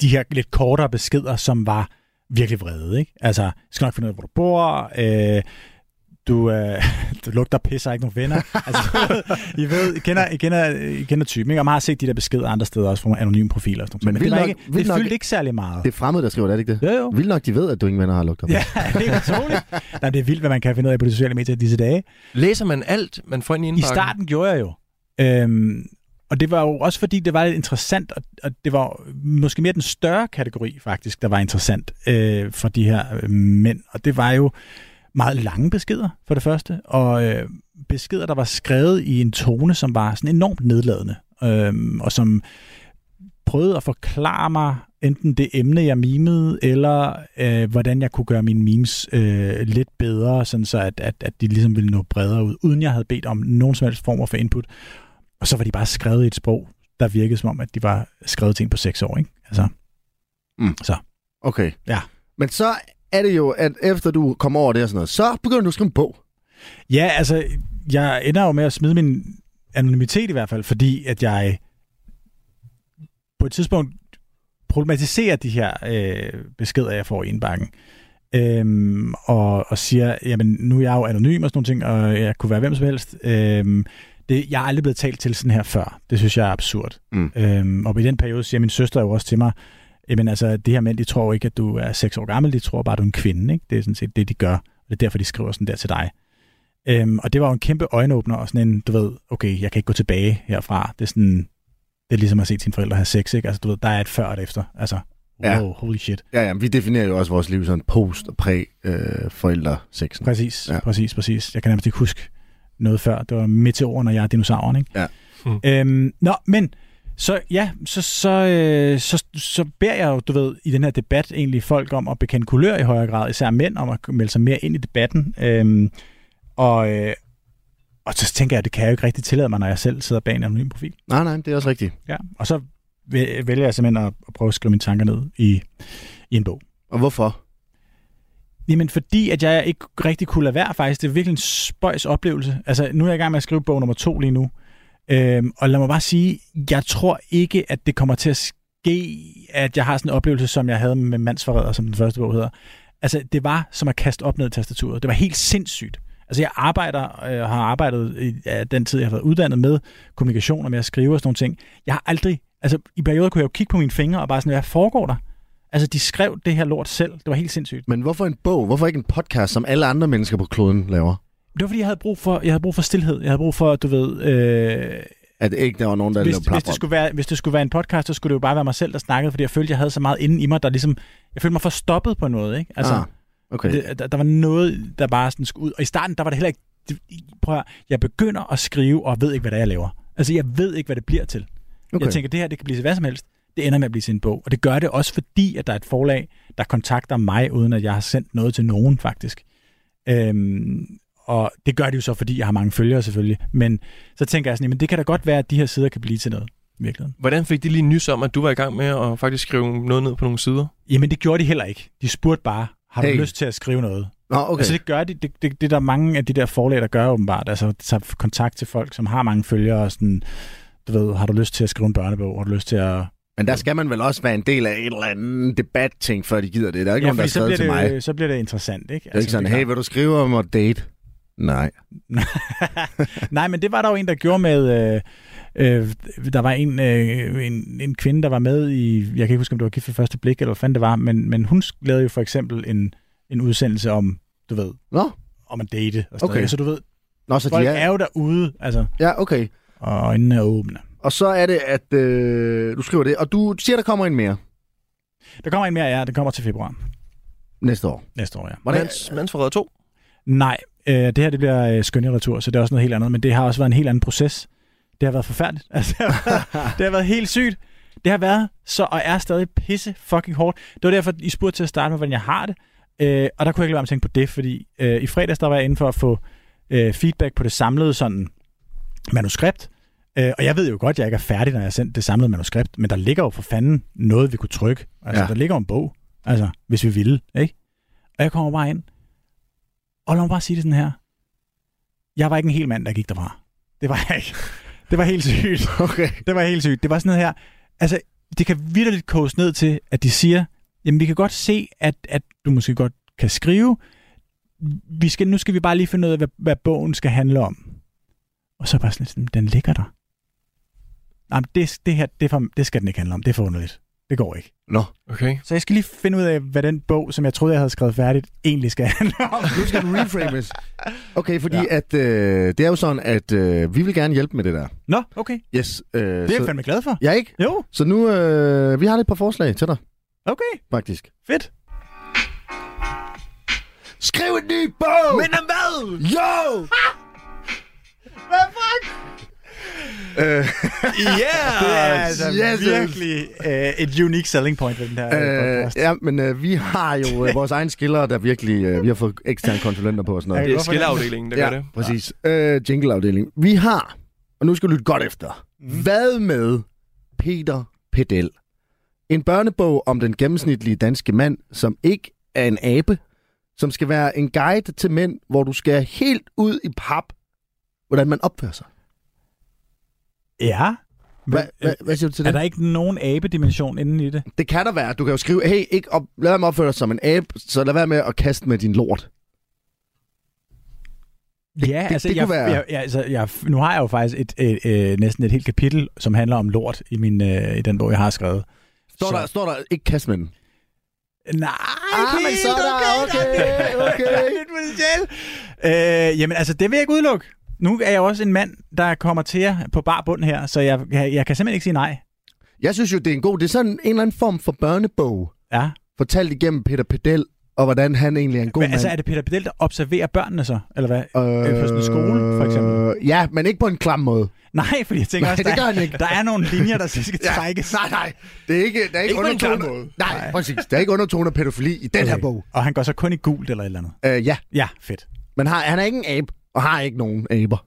S3: de her lidt kortere beskeder, som var virkelig vrede, ikke? Altså, jeg skal nok finde ud af, hvor du bor, øh, du, øh, du lugter pis, og har ikke nogen venner. Altså, I ved, I kender, I kender, I kender typen, ikke? Og man har set de der beskeder andre steder også, fra nogle anonyme profiler og sådan noget. Men
S4: Men
S3: det,
S4: vildt
S3: var
S4: nok-
S3: ikke, det
S4: vildt nok-
S3: fyldte ikke særlig meget.
S4: Det er fremmede, der skriver det, er det ikke det?
S3: jo, jo.
S4: Vildt nok, de ved, at du ingen venner har lukket op.
S3: Ja, det er utroligt. Nej, det er vildt, hvad man kan finde ud af på de sociale medier disse dage.
S5: Læser man alt, man får ind
S3: I
S5: i indbakken?
S3: starten gjorde jeg jo. Øhm, og det var jo også fordi, det var lidt interessant, og, og det var måske mere den større kategori faktisk, der var interessant øh, for de her øh, mænd. Og det var jo meget lange beskeder, for det første, og øh, beskeder, der var skrevet i en tone, som var sådan enormt nedladende, øh, og som prøvede at forklare mig enten det emne, jeg mimede, eller øh, hvordan jeg kunne gøre mine memes øh, lidt bedre, sådan så at, at, at de ligesom ville nå bredere ud, uden jeg havde bedt om nogen som helst former for input. Og så var de bare skrevet i et sprog, der virkede som om, at de var skrevet til en på seks år. Ikke? Altså,
S4: Okay.
S3: Ja.
S4: Men så er det jo, at efter du kommer over det og sådan noget, så begynder du at skrive en bog.
S3: ja, altså, jeg ender jo med at smide min anonymitet i hvert fald, fordi at jeg på et tidspunkt problematiserer de her øh, beskeder, jeg får i indbakken. Øhm, og, og siger, jamen nu er jeg jo anonym og sådan nogle ting, og jeg kunne være hvem som helst. Øhm, det, jeg er aldrig blevet talt til sådan her før. Det synes jeg er absurd.
S4: Mm.
S3: Øhm, og i den periode siger min søster jo også til mig, jamen altså, det her mænd, de tror jo ikke, at du er seks år gammel, de tror bare, at du er en kvinde. Ikke? Det er sådan set det, de gør. Og det er derfor, de skriver sådan der til dig. Øhm, og det var jo en kæmpe øjenåbner, og sådan en, du ved, okay, jeg kan ikke gå tilbage herfra. Det er sådan, det er ligesom at se sine forældre have sex, ikke? Altså, du ved, der er et før og et efter. Altså, wow,
S4: Ja.
S3: ja. holy shit.
S4: Ja, ja, men vi definerer jo også vores liv sådan post- og øh, præ-forældre-sexen.
S3: Præcis,
S4: Ja.
S3: ja. præcis, præcis. Jeg kan nærmest ikke huske noget før. Det var meteoren, og jeg er dinosauren, ikke?
S4: Ja.
S5: Mm.
S3: Øhm, nå, men Så ja, så, så, øh, så, så beder jeg jo, du ved, i den her debat egentlig folk om at bekende kulør i højere grad, især mænd, om at melde sig mere ind i debatten. Øhm, og, øh, og så tænker jeg, at det kan jeg jo ikke rigtig tillade mig, når jeg selv sidder bag en anonym profil.
S4: Nej, nej, det er også rigtigt.
S3: Ja. Og så væ- vælger jeg simpelthen at, at prøve at skrive mine tanker ned i, i en bog.
S4: Og hvorfor?
S3: Jamen, fordi at jeg ikke rigtig kunne lade være, faktisk. Det er virkelig en spøjs oplevelse. Altså, nu er jeg i gang med at skrive bog nummer to lige nu. Øhm, og lad mig bare sige, jeg tror ikke, at det kommer til at ske, at jeg har sådan en oplevelse, som jeg havde med Mandsforræder, som den første bog hedder. Altså, det var som at kaste op ned i tastaturet. Det var helt sindssygt. Altså, jeg arbejder og øh, har arbejdet i ja, den tid, jeg har været uddannet med kommunikation og med at skrive og sådan nogle ting. Jeg har aldrig... Altså, i perioder kunne jeg jo kigge på mine fingre og bare sådan, hvad foregår der? Altså, de skrev det her lort selv. Det var helt sindssygt.
S4: Men hvorfor en bog? Hvorfor ikke en podcast, som alle andre mennesker på kloden laver?
S3: Det var fordi, jeg havde brug for, jeg havde brug for stillhed. Jeg havde brug for, du ved... Øh,
S4: At ikke der var nogen, der
S3: hvis,
S4: lavede plapper.
S3: hvis, det skulle være, hvis det skulle være en podcast, så skulle det jo bare være mig selv, der snakkede, fordi jeg følte, jeg havde så meget inde i mig, der ligesom... Jeg følte mig forstoppet på noget, ikke? Altså,
S4: ah, okay. Det,
S3: det, der, der var noget, der bare sådan skulle ud. Og i starten, der var det heller ikke... Det, prøv at, høre, jeg begynder at skrive, og jeg ved ikke, hvad det er, jeg laver. Altså, jeg ved ikke, hvad det bliver til. Okay.
S4: okay.
S3: Jeg tænker, det her, det kan blive til hvad som helst. Det ender med at blive til en bog. Og det gør det også, fordi at der er et forlag, der kontakter mig, uden at jeg har sendt noget til nogen, faktisk. Øhm, og det gør det jo så, fordi jeg har mange følgere selvfølgelig. Men så tænker jeg sådan, men det kan da godt være, at de her sider kan blive til noget i virkeligheden.
S5: Hvordan fik de lige nys om, at du var i gang med at faktisk skrive noget ned på nogle sider?
S3: Jamen det gjorde de heller ikke. De spurgte bare, har du
S4: Hey.
S3: hey. lyst til at skrive noget?
S4: Nå, okay.
S3: Okay. Altså det gør de, det, det, det er der mange af de der forlag, der gør åbenbart. Altså tager kontakt til folk, som har mange følgere og sådan, du ved, har du lyst til at skrive en børnebog? Har du lyst til at
S4: Men der skal man vel også være en del af et eller andet debat-ting, før de gider det. Der er ikke ja, nogen, der har
S3: fordi så bliver,
S4: skrevet til mig.
S3: det,
S4: Det
S3: så bliver det interessant, ikke? Altså,
S4: er ikke sådan, hey, vil du skrive om at date? Nej.
S3: Nej, men det var der jo en, der gjorde med... Øh, øh, der var en, øh, en, en kvinde, der var med i... Jeg kan ikke huske, om det var gift ved første blik, eller hvad fanden det var, men, men hun lavede jo for eksempel en, en udsendelse om, du ved,
S4: Nå,
S3: om at date. Og sådan
S4: Okay.
S3: noget. Så du ved,
S4: Nå så
S3: folk
S4: de
S3: er
S4: er...
S3: jo derude, altså,
S4: Ja, okay.
S3: og øjnene er åbne.
S4: Og så er det, at øh, du skriver det, og du siger, der kommer en mere
S3: Der kommer en mere, ja. Den kommer til februar
S4: næste år.
S3: næste år, ja.
S4: Hvordan?
S5: Mands, mandsforræder 2?
S3: Nej, øh, det her det bliver øh, skønne retur, så det er også noget helt andet. Men det har også været en helt anden proces. Det har været forfærdeligt. Altså, det, har været, det har været helt sygt. Det har været så og er stadig pisse fucking hårdt. Det var derfor, I spurgte til at starte med, hvordan jeg har det. Øh, og der kunne jeg ikke lade være med at tænke på det, fordi øh, i fredags der var jeg inde for at få øh, feedback på det samlede sådan manuskript. Øh, og jeg ved jo godt, at jeg ikke er færdig, når jeg har sendt det samlede manuskript, men der ligger jo for fanden noget, vi kunne trykke. Altså,
S4: Ja.
S3: ja. der ligger jo en bog, altså, hvis vi ville, ikke? Og jeg kommer bare ind, og lad mig bare sige det sådan her. Jeg var ikke en hel mand, der gik derfra. Det var jeg ikke. Det var helt sygt.
S4: Okay.
S3: Det var helt sygt. Det var sådan noget her. Altså, det kan vidderligt koges ned til, at de siger, jamen vi kan godt se, at, at du måske godt kan skrive. Vi skal, nu skal vi bare lige finde ud af, hvad, hvad bogen skal handle om. Og så bare sådan, lidt sådan, den ligger der. Nej, men det, det her, det, er for, det skal den ikke handle om. Det er for underligt. Det går ikke.
S4: Nå,
S5: Okay.
S3: Så jeg skal lige finde ud af, hvad den bog, som jeg troede, jeg havde skrevet færdigt, egentlig skal handle om.
S4: nu skal den reframes. Okay, fordi ja. at, øh, det er jo sådan, at øh, vi vil gerne hjælpe med det der.
S3: Nå, okay.
S4: Yes. Øh,
S3: Det er jeg
S4: så,
S3: fandme glad for.
S4: Ja, ikke?
S3: Jo,
S4: Så nu, øh, vi har lidt par forslag til dig,
S3: okay.
S4: faktisk.
S3: Fedt.
S4: Skriv en ny bog!
S5: Men om hvad?
S4: Jo! Øh,
S5: Yeah!
S3: Det er altså
S4: Ah, Jesus.
S3: yes, virkelig øh, et unique selling point ved den her øh,
S4: Øh,
S3: podcast.
S4: ja, men øh, vi har jo øh, vores egen skiller, der virkelig... Øh, vi har fået eksterne konsulenter på og sådan noget.
S5: Det er skilleafdelingen, der ja. gør det.
S4: præcis. Øh, jingleafdeling. Vi har, og nu skal du lytte godt efter, mm. hvad med Peter Pedel? En børnebog om den gennemsnitlige danske mand, som ikke er en abe, som skal være en guide til mænd, hvor du skal helt ud i pap, hvordan man opfører sig.
S3: Ja.
S4: Hva,
S3: Men,
S4: hva, hvad siger du til
S3: øh, er
S4: det?
S3: der ikke nogen abedimension inden i det?
S4: Det kan der være. Du kan jo skrive, hey, ikke op, lad være med at opføre dig som en abe, så lad være med at kaste med din lort.
S3: Det, ja,
S4: det- det
S3: jeg,
S4: kunne være-
S3: Jeg, jeg, altså, jeg, nu har jeg jo faktisk et, et, øh, næsten et helt kapitel, som handler om lort i, min, øh, i den bog, jeg har skrevet.
S4: Står,
S3: Så-
S4: der, står der ikke kaste med den?
S3: Nej,
S4: Ah, men
S3: helt
S4: så er der- okay, okay.
S3: Der er lidt potentiale. Øh, jamen, altså, det vil jeg ikke udelukke. Nu er jeg jo også en mand, der kommer til jer på bar bund her, så jeg, jeg, jeg kan simpelthen ikke sige nej.
S4: Jeg synes jo, det er en god... Det er sådan en eller anden form for børnebog,
S3: Ja.
S4: fortalt igennem Peter Pedel og hvordan han egentlig er en god
S3: Men,
S4: mand.
S3: altså, er det Peter Pedel, der observerer børnene så? Eller hvad? Øh, på sådan en skole, for eksempel?
S4: Øh, Ja, men ikke på en klam måde.
S3: Nej, fordi jeg tænker
S4: Nej,
S3: også,
S4: det gør
S3: der,
S4: han
S3: er-
S4: ikke.
S3: der er nogle linjer, der skal trækkes.
S4: Nej, nej. Det er ikke, der er ikke,
S5: Ikke på en klam
S4: undertoner-
S5: måde.
S4: Nej, præcis. Der er ikke undertoner af pædofili i den okay. her bog.
S3: Og han går så kun i gult eller et eller andet.
S4: Øh, ja,
S3: Ja, fedt.
S4: men har, han er ikke en abe, og har ikke nogen aber.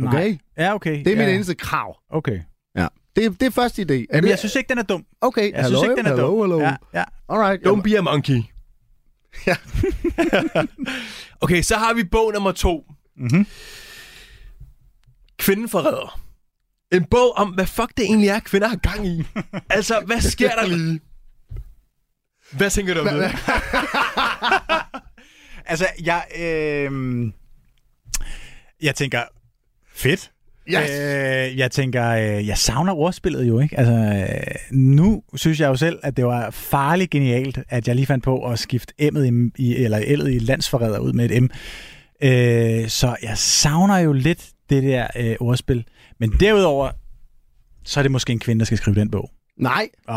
S3: Nej.
S4: Okay?
S3: Ja, okay.
S4: Det er
S3: ja.
S4: ja. mit eneste krav.
S3: Okay.
S4: Ja. Det, det er første idé. Er
S3: Jamen,
S4: det,
S3: jeg synes ikke, den er dum.
S4: okay,
S3: Jeg
S4: hello,
S3: synes ikke, den er
S4: hello,
S3: dum.
S4: Hello.
S3: Ja, ja.
S4: Alright.
S5: Don't be a monkey.
S4: Ja.
S5: okay, så har vi bog nummer to.
S4: Mhm.
S3: Mm-hmm.
S5: Kvinden forræder. En bog om, hvad fuck det egentlig er, kvinder har gang i. Altså, hvad sker der lige? Hvad tænker du om det?
S3: Altså, jeg... Øh... Jeg tænker... Fedt.
S4: Yes.
S3: Øh, jeg tænker, øh, jeg savner ordspillet jo, ikke? Altså, øh, nu synes jeg jo selv, at det var farligt genialt, at jeg lige fandt på at skifte M'et i, i, eller L'et i landsforræder ud med et M. Øh, så jeg savner jo lidt det der øh, ordspil. Men derudover, så er det måske en kvinde, der skal skrive den bog.
S4: Nej,
S3: Åh,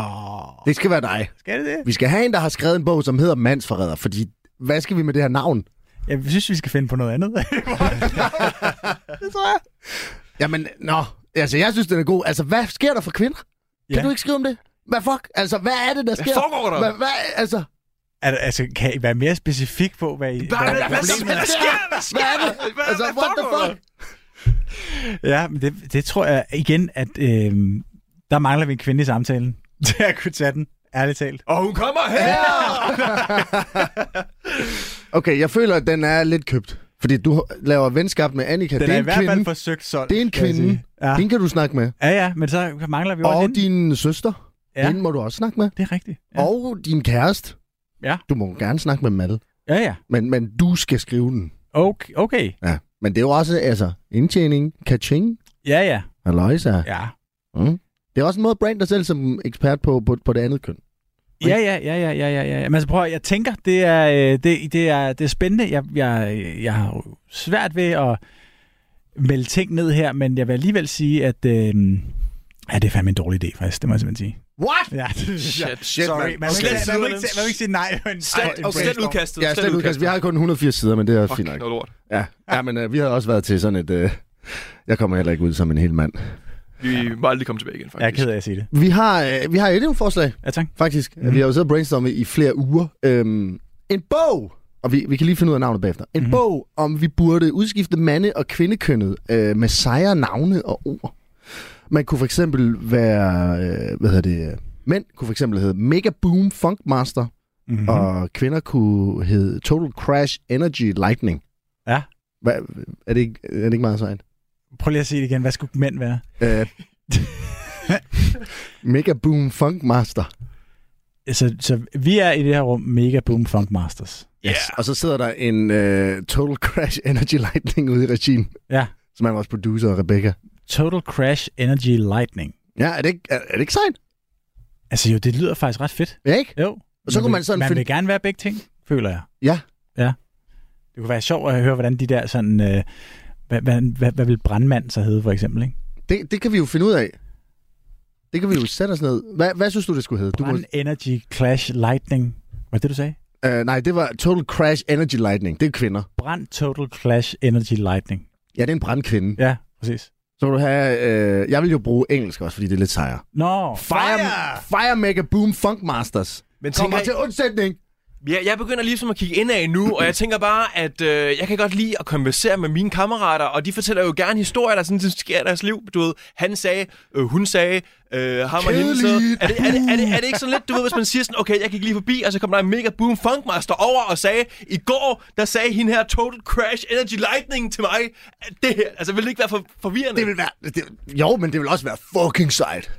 S4: det skal være dig.
S3: skal det det?
S4: Vi skal have en, der har skrevet en bog, som hedder Mandsforræder, fordi hvad skal vi med det her navn?
S3: Jeg synes, vi skal finde på noget andet.
S4: Jamen, nå. Altså, jeg synes, den er god. Altså, hvad sker der for kvinder? Kan
S3: Ja.
S4: du ikke skrive om det? Hvad fuck? Altså, hvad er det, der sker?
S5: foregår der?
S4: Hvad, hvad, altså,
S3: Altså, altså, kan I være mere specifik på, hvad I... Hvad,
S5: Hvad,
S3: hvad,
S5: hvad, hvad,
S3: problemet
S5: hvad
S3: er?
S5: sker der?
S4: hvad er det?
S5: Hvad-
S4: altså,
S5: hvad
S4: what the
S5: foregår
S4: fuck?
S3: Ja, men det, det tror jeg igen, at øh, der mangler vi en kvinde i samtalen til at kunne tage den, ærligt talt.
S5: Og hun kommer her!
S4: Okay, jeg føler, at den er lidt købt. Fordi du laver venskab med Annika.
S3: Den
S4: det
S3: er,
S4: er
S3: i
S4: en
S3: hvert fald
S4: kvinde.
S3: forsøgt solgt.
S4: Det er en
S3: kan jeg
S4: kvinde.
S3: sige. Ja.
S4: Hende kan du snakke med.
S3: ja, ja, men så mangler vi jo
S4: Og
S3: også din...
S4: din søster.
S3: Ja.
S4: Ja. Hende må du også snakke med.
S3: Det er rigtigt. Ja,
S4: Ja. Og din kæreste.
S3: Ja.
S4: Du må gerne snakke med Malle.
S3: ja. ja.
S4: Men, men du skal skrive den.
S3: Okay. okay.
S4: Ja. Men det er jo også, altså, indtjening, kaching,
S3: Ja, ja.
S4: halløjsa. Ja.
S3: Ja.
S4: Mm. Det er også en måde at brande dig selv som ekspert på, på, på det andet køn.
S3: Ja, ja, ja, ja, ja, ja, ja. Men altså, prøv at, høre, jeg tænker, det er, øh, det, det er, det er spændende. Jeg, jeg, jeg har jo svært ved at melde ting ned her, men jeg vil alligevel sige, at øh, ja, det er fandme en dårlig idé, faktisk. Det må jeg simpelthen sige.
S4: What?
S3: Ja, det synes jeg.
S5: Shit,
S4: shit,
S3: Sorry,
S4: mand.
S3: man må, ikke,
S5: Slet
S3: sige- man, må
S5: siderne.
S3: ikke, sige- man må ikke sige nej. Men
S5: Slet,
S3: en
S5: okay. slet
S3: brainstorm.
S5: udkastet.
S4: Ja, slet udkast. Vi har kun 180 sider, men det er fint
S5: Fuck,
S4: nok.
S5: noget lort.
S4: Ja, ja men øh, vi havde også været til sådan et... Øh, jeg kommer heller ikke ud som en hel mand.
S5: Vi må aldrig komme tilbage igen,
S3: Jeg er
S5: faktisk.
S3: ked af at sige det.
S4: Vi har, øh, vi har et endnu forslag,
S3: Ja, tak.
S4: faktisk. Mm-hmm. Vi har jo siddet og brainstormet i flere uger. Øhm, en bog! Og vi, vi kan lige finde ud af navnet bagefter. En mm-hmm. bog, om vi burde udskifte mande- og kvindekønnet øh, med sejre, navne og ord. Man kunne for eksempel være... Øh, hvad hedder det? øh, Mænd kunne for eksempel hedde Mega Boom Funkmaster,
S3: Mm-hmm.
S4: mm-hmm. og kvinder kunne hedde Total Crash Energy Lightning.
S3: Ja.
S4: Hva, er, det ikke, er det ikke meget sejt?
S3: Prøv lige at sige det igen. Hvad skulle mænd være?
S4: Øh, Mega Boom Funkmaster.
S3: Så, så vi er i det her rum mega boom funk masters.
S5: Ja.
S4: Og så sidder der en øh, Total Crash Energy Lightning ude i regien,
S3: Ja.
S4: som er vores producer, Rebecca.
S3: Total Crash Energy Lightning.
S4: Ja, er det ikke, er, er det ikke sejt?
S3: Altså jo, det lyder faktisk ret fedt.
S4: Ja, ikke?
S3: Jo.
S4: Og så
S3: man
S4: kunne
S3: vil,
S4: man sådan
S3: man
S4: finde-
S3: vil gerne være begge ting, føler jeg.
S4: Ja.
S3: Det kunne være sjovt at høre, hvordan de der sådan... Øh, hvad, hvad, hvad, hvad vil brandmand så hedde, for eksempel? Ikke?
S4: Det, det kan vi jo finde ud af. Det kan vi jo sætte os ned. Hvad, hvad synes du, det skulle hedde? Du
S3: Brand Energy Clash Lightning. Var det det, du sagde?
S4: må, øh, nej, det var Total Crash Energy Lightning. Det er kvinder.
S3: Brand Total Clash Energy Lightning.
S4: Ja, det er en brandkvinde.
S3: Ja, præcis.
S4: Så vil du have... Øh, jeg vil jo bruge engelsk også, fordi det er lidt sejere.
S3: Nå,
S4: Fire, Fire Mega Boom Funkmasters.
S5: Men tænker,
S4: Kommer til undsætning.
S5: Ja, jeg begynder ligesom at kigge indad nu, og jeg tænker bare, at øh, jeg kan godt lide at konversere med mine kammerater, og de fortæller jo gerne historier, der sådan set sker i deres liv. Du ved, han sagde, øh, hun sagde, øh, ham og hende. Så,
S4: Kedeligt.
S5: er, det, er, det, er, det, er det ikke sådan lidt, du ved, hvis man siger sådan, okay, jeg gik lige forbi, og så kom der en mega boom funkmaster over og sagde, i går, der sagde hende her Total Crash Energy Lightning til mig, at det her, altså vil det ikke være for, forvirrende?
S4: Det vil være... Det, jo, men det vil også være fucking sejt.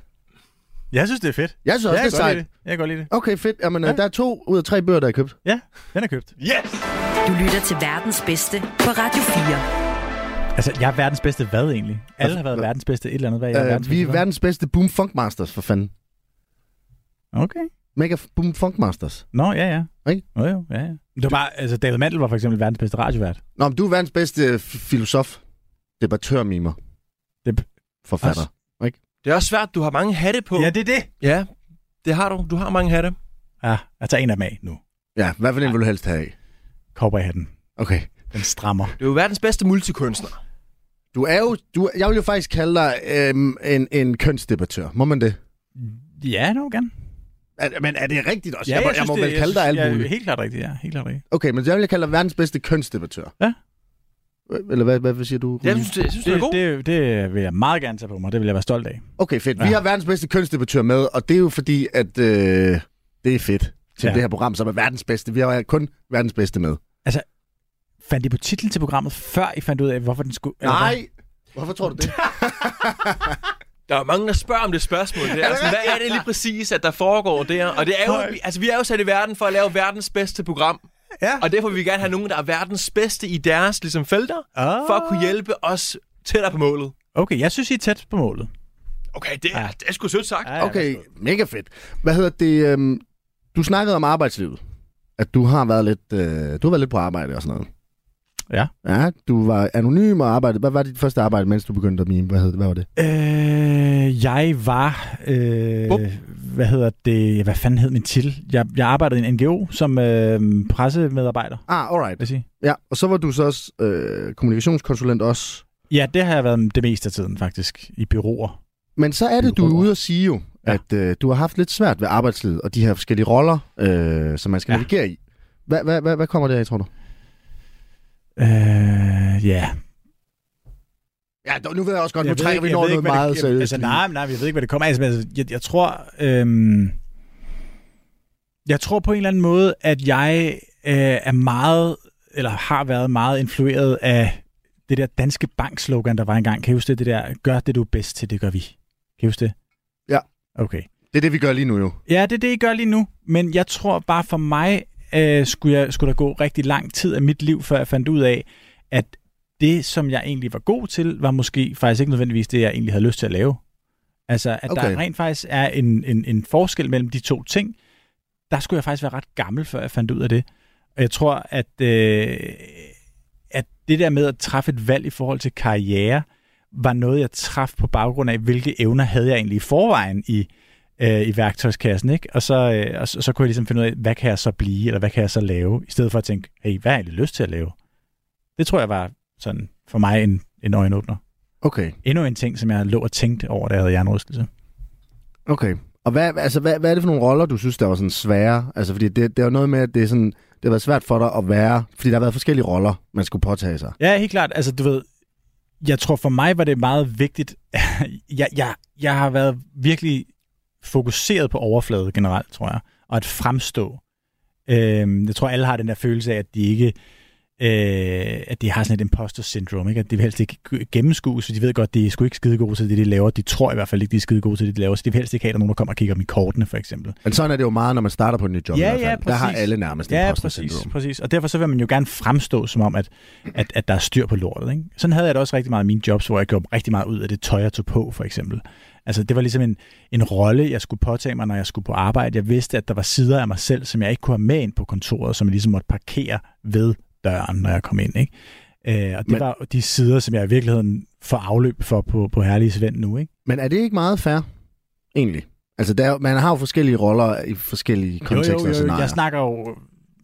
S3: Jeg synes, det er fedt.
S4: Jeg synes også,
S3: Ja,
S4: det
S3: godt
S4: er sejt.
S3: lide det. Jeg kan godt lide det.
S4: Okay, fedt. Jamen, ja. der er to ud af tre bøger, der er købt.
S3: Ja, den er købt.
S5: Yes!
S2: Du lytter til verdens bedste på Radio 4.
S3: Altså, jeg er verdens bedste hvad egentlig? Alle har været verdens bedste et eller andet. Hvad er jeg er verdens
S4: Altså, Øh, vi
S3: bedste
S4: er
S3: hvad?
S4: verdens bedste Boom Funk Masters, for fanden.
S3: Okay.
S4: Mega Boom Funk Masters.
S3: Nå, ja, ja.
S4: Ikke?
S3: Jo, jo, ja, ja. Det var bare, altså David Mandel var for eksempel verdens bedste radiovært.
S4: Nå, men du er verdens bedste øh, f- filosof. Debattør, mimer.
S3: Deb-
S4: Forfatter.
S3: Også.
S5: Det er også svært, du har mange hatte på.
S3: det er det.
S5: ja, det har du. Du har mange hatte.
S3: Ja, jeg tager en af dem af nu.
S4: Ja, hvad for en vil du helst have af?
S3: Cowboyhatten.
S4: Okay.
S3: Den strammer.
S5: Du er jo verdens bedste multikunstner.
S4: Du er jo, du, jeg vil jo faktisk kalde dig øhm, en, en kønsdebattør. Må man det?
S3: Ja, det må gerne.
S4: Er, men er det rigtigt også?
S3: Ja,
S4: jeg, må, jeg
S3: synes,
S4: må
S3: det-
S4: vel kalde dig
S3: synes-
S4: alt
S3: ja,
S4: muligt.
S3: helt klart rigtigt, ja. Helt klart rigtigt.
S4: Okay, men jeg vil kalde dig verdens bedste kønsdebattør.
S3: Ja.
S4: Eller hvad, hvad siger du?
S5: Jeg
S4: Rune?
S5: synes, det, jeg synes, det, er god.
S3: Det, det, det vil jeg meget gerne tage på mig. Det vil jeg være stolt af.
S4: Okay, fedt. Vi
S3: Ja.
S4: har verdens bedste kønsdebattør med, og det er jo fordi, at øh, det er fedt til
S3: Ja.
S4: ja. det her program, som er verdens bedste. Vi har kun verdens bedste med.
S3: Altså, Fandt I på titlen til programmet, før I fandt ud af, hvorfor den skulle... eller hvad?
S4: Nej! Hvorfor tror du det?
S5: Der er mange, der spørger om det spørgsmål der. Altså, hvad er det lige præcis, at der foregår der? Og det er jo, vi- altså, vi er jo sat i verden for at lave verdens bedste program.
S3: Ja.
S5: Og derfor vil vi gerne have nogen, der er verdens bedste i deres ligesom, felter,
S3: Ah.
S5: for at kunne hjælpe os tættere på målet. Ah.
S3: Okay, jeg synes, I er tæt på målet.
S5: Okay, det er, det er sgu sødt sagt.
S4: Okay, mega fedt. Hvad hedder det? Øhm, du snakkede om arbejdslivet. At du har været lidt, øh, du har været lidt på arbejde og sådan noget.
S3: Ja.
S4: Ja, du var anonym og arbejdede. Hvad var dit første arbejde, mens du begyndte at mime? Hvad, hed, hvad var det?
S3: Øh, jeg var... Øh,
S5: Bup.
S3: hvad hedder det? Hvad fanden hed min titel? Jeg, jeg arbejdede i en NGO som øh, pressemedarbejder, vil
S4: Ah, alright.
S3: jeg sige.
S4: Ja, og så var du så også øh, kommunikationskonsulent også.
S3: Ja, det har jeg været det meste af tiden, faktisk, i byråer.
S4: Men så er det, du er ude og sige jo,
S3: Ja.
S4: ja. at øh, du har haft lidt svært ved arbejdslivet og de her forskellige roller, øh, som man skal
S3: Ja.
S4: ja. navigere i. Hvad, hvad, hvad, hvad kommer det af, tror du?
S3: Øh, ja.
S4: Ja, dog, nu ved jeg også godt,
S3: Jeg
S4: nu
S3: ved
S4: trækker
S3: ikke-
S4: vi
S3: jeg
S4: over
S3: ved
S4: noget
S3: ikke, hvad
S4: meget
S3: det,
S4: seriøst.
S3: Altså,
S4: lige.
S3: nej, nej, jeg ved ikke, hvad det kommer af. Men altså, jeg, jeg tror... Øhm, jeg tror på en eller anden måde, at jeg øh, er meget, eller har været meget influeret af det der danske bankslogan, der var engang. Kan I huske det, det der, gør det du er bedst til, det gør vi. Kan I huske det?
S4: Ja.
S3: Okay.
S4: Det er det, vi gør lige nu jo.
S3: Ja, det er det, I gør lige nu. Men jeg tror bare for mig, øh, skulle, jeg, skulle der gå rigtig lang tid af mit liv, før jeg fandt ud af, at det, som jeg egentlig var god til, var måske faktisk ikke nødvendigvis det, jeg egentlig havde lyst til at lave. Altså, at okay.
S4: Okay.
S3: der rent faktisk er en, en, en forskel mellem de to ting. Der skulle jeg faktisk være ret gammel, før jeg fandt ud af det. Og jeg tror, at, øh, at det der med at træffe et valg i forhold til karriere, var noget, jeg traf på baggrund af, hvilke evner havde jeg egentlig i forvejen i, øh, i værktøjskassen, ikke? Og så, øh, og så, så kunne jeg ligesom finde ud af, hvad kan jeg så blive, eller hvad kan jeg så lave, i stedet for at tænke, hey, hvad har jeg egentlig lyst til at lave? Det tror jeg var sådan for mig en, en øjenåbner.
S4: Okay,
S3: Endnu en ting, som jeg lå og tænkte over, da jeg havde hjernerystelse.
S4: okay. Og hvad, altså, hvad, hvad er det for nogle roller, du synes, der var sådan svære? Altså, fordi det, det er jo noget med, at det, er sådan, det har været svært for dig at være, fordi der har været forskellige roller, man skulle påtage sig.
S3: Ja, helt klart. Altså, du ved, jeg tror for mig var det meget vigtigt. jeg, jeg, jeg har været virkelig fokuseret på overflade generelt, tror jeg, og at fremstå. Øhm, jeg tror, alle har den der følelse af, at de ikke øh, at de har sådan et imposter syndrome, ikke? at de vil helst ikke gennemskues, for de ved godt, de er sgu ikke skide gode til det, de laver. De tror i hvert fald ikke, de er skide gode til det, de laver, så de vil helst ikke have, at der er nogen, der kommer og kigger dem i kortene, for eksempel.
S4: Men sådan er det jo meget, når man starter på et nyt job
S3: Ja,
S4: i hvert fald.
S3: ja,
S4: der har
S3: præcis.
S4: alle nærmest
S3: Ja,
S4: imposter
S3: præcis,
S4: syndrom.
S3: præcis. Og derfor så vil man jo gerne fremstå som om, at, at, at der er styr på lortet. Ikke? Sådan havde jeg det også rigtig meget i mine jobs, hvor jeg gjorde rigtig meget ud af det tøj, jeg tog på, for eksempel. Altså, det var ligesom en, en rolle, jeg skulle påtage mig, når jeg skulle på arbejde. Jeg vidste, at der var sider af mig selv, som jeg ikke kunne have med ind på kontoret, som jeg ligesom måtte parkere ved døren, når jeg kom ind. Ikke? Øh, og det
S4: Men-
S3: Men... var de sider, som jeg i virkeligheden får afløb for på, på Herlige Svend nu. Ikke?
S4: Men er det ikke meget fair, egentlig? Altså, der, er jo- man har jo forskellige roller i forskellige kontekster
S3: jo, jo,
S4: og
S3: jo,
S4: scenarier.
S3: Jeg snakker jo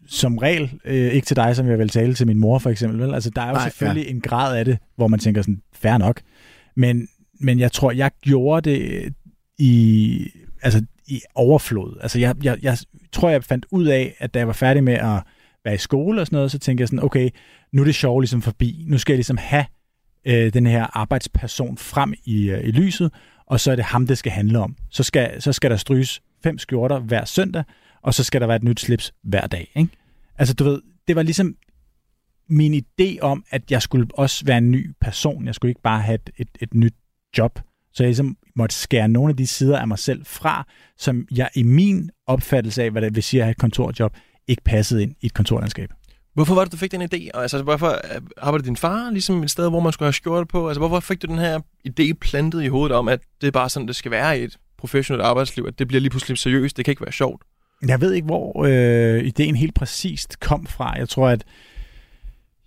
S3: som regel øh, ikke til dig, som jeg vil tale til min mor for eksempel. Vel? Altså, der er jo
S4: Nej,
S3: Nej, selvfølgelig ja. en grad af det, hvor man tænker sådan, fair nok. Men, men jeg tror, jeg gjorde det øh, i, altså, i overflod. Altså, jeg, jeg, jeg tror, jeg fandt ud af, at da jeg var færdig med at være i skole og sådan noget, så tænkte jeg sådan, okay, nu er det sjov ligesom forbi. Nu skal jeg ligesom have øh, den her arbejdsperson frem i, øh, i lyset, og så er det ham, det skal handle om. Så skal, så skal der stryges fem skjorter hver søndag, og så skal der være et nyt slips hver dag. Ikke? Altså, du ved, det var ligesom min idé om, at jeg skulle også være en ny person. Jeg skulle ikke bare have et, et, et nyt job. Så jeg ligesom måtte skære nogle af de sider af mig selv fra, som jeg i min opfattelse af, hvad det vil sige at have et kontorjob, ikke passede ind i et kontorlandskab.
S5: Hvorfor var det, du fik den idé? Og altså, hvorfor øh, arbejdede din far ligesom et sted, hvor man skulle have skjorte på? Altså, hvorfor fik du den her idé plantet i hovedet om, at det er bare sådan, det skal være i et professionelt arbejdsliv, at det bliver lige pludselig seriøst, det kan ikke være sjovt?
S3: Jeg ved ikke, hvor øh, ideen helt præcist kom fra. Jeg tror, at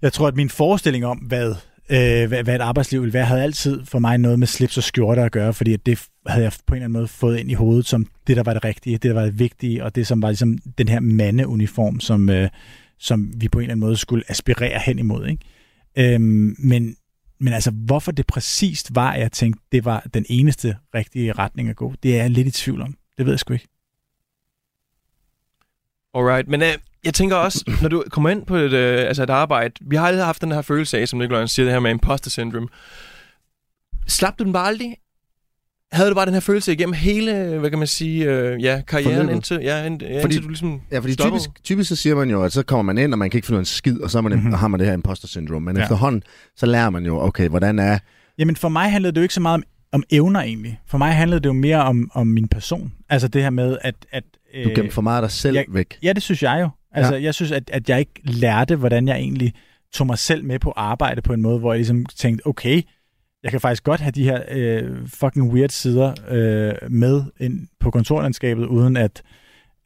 S3: jeg tror, at min forestilling om, hvad øh, hvad, hvad et arbejdsliv ville være, havde altid for mig noget med slips og skjorter at gøre, fordi at det f- havde jeg på en eller anden måde fået ind i hovedet som det, der var det rigtige, det, der var det vigtige, og det, som var ligesom den her mandeuniform, som, øh, som vi på en eller anden måde skulle aspirere hen imod. Ikke? Øhm, men, men altså, hvorfor det præcist var, at jeg tænkte, det var den eneste rigtige retning at gå, det er jeg lidt i tvivl om. Det ved jeg sgu ikke.
S5: Alright, men øh, jeg tænker også, når du kommer ind på et, øh, altså et arbejde, vi har aldrig haft den her følelse af, som Nikolaj siger, det her med imposter syndrome. Slap du den bare aldrig? Havde du bare den her følelse igennem hele, hvad kan man sige, øh, ja, karrieren,
S4: Forløbet.
S5: indtil, ja, ind, ja,
S4: Fordi-
S5: indtil du ligesom
S4: Ja, fordi
S5: stoppede?
S4: typisk, typisk så siger man jo, at så kommer man ind, og man kan ikke finde ud af en skid, og så er man, mm-hmm. har man det her imposter syndrom. Men
S3: Mhm. Ja.
S4: ja. efterhånden, så lærer man jo, okay, hvordan er...
S3: Jamen for mig handlede det jo ikke så meget om, om evner egentlig. For mig handlede det jo mere om, om min person. Altså det her med, at... at
S4: Du gemmer for meget af dig selv
S3: Øh, jeg-
S4: jeg... væk.
S3: Ja, det synes jeg jo. Altså, ja. jeg synes, at, at jeg ikke lærte, hvordan jeg egentlig tog mig selv med på arbejde på en måde, hvor jeg ligesom tænkte, okay, jeg kan faktisk godt have de her øh, fucking weird sider øh, med ind på kontorlandskabet, uden at,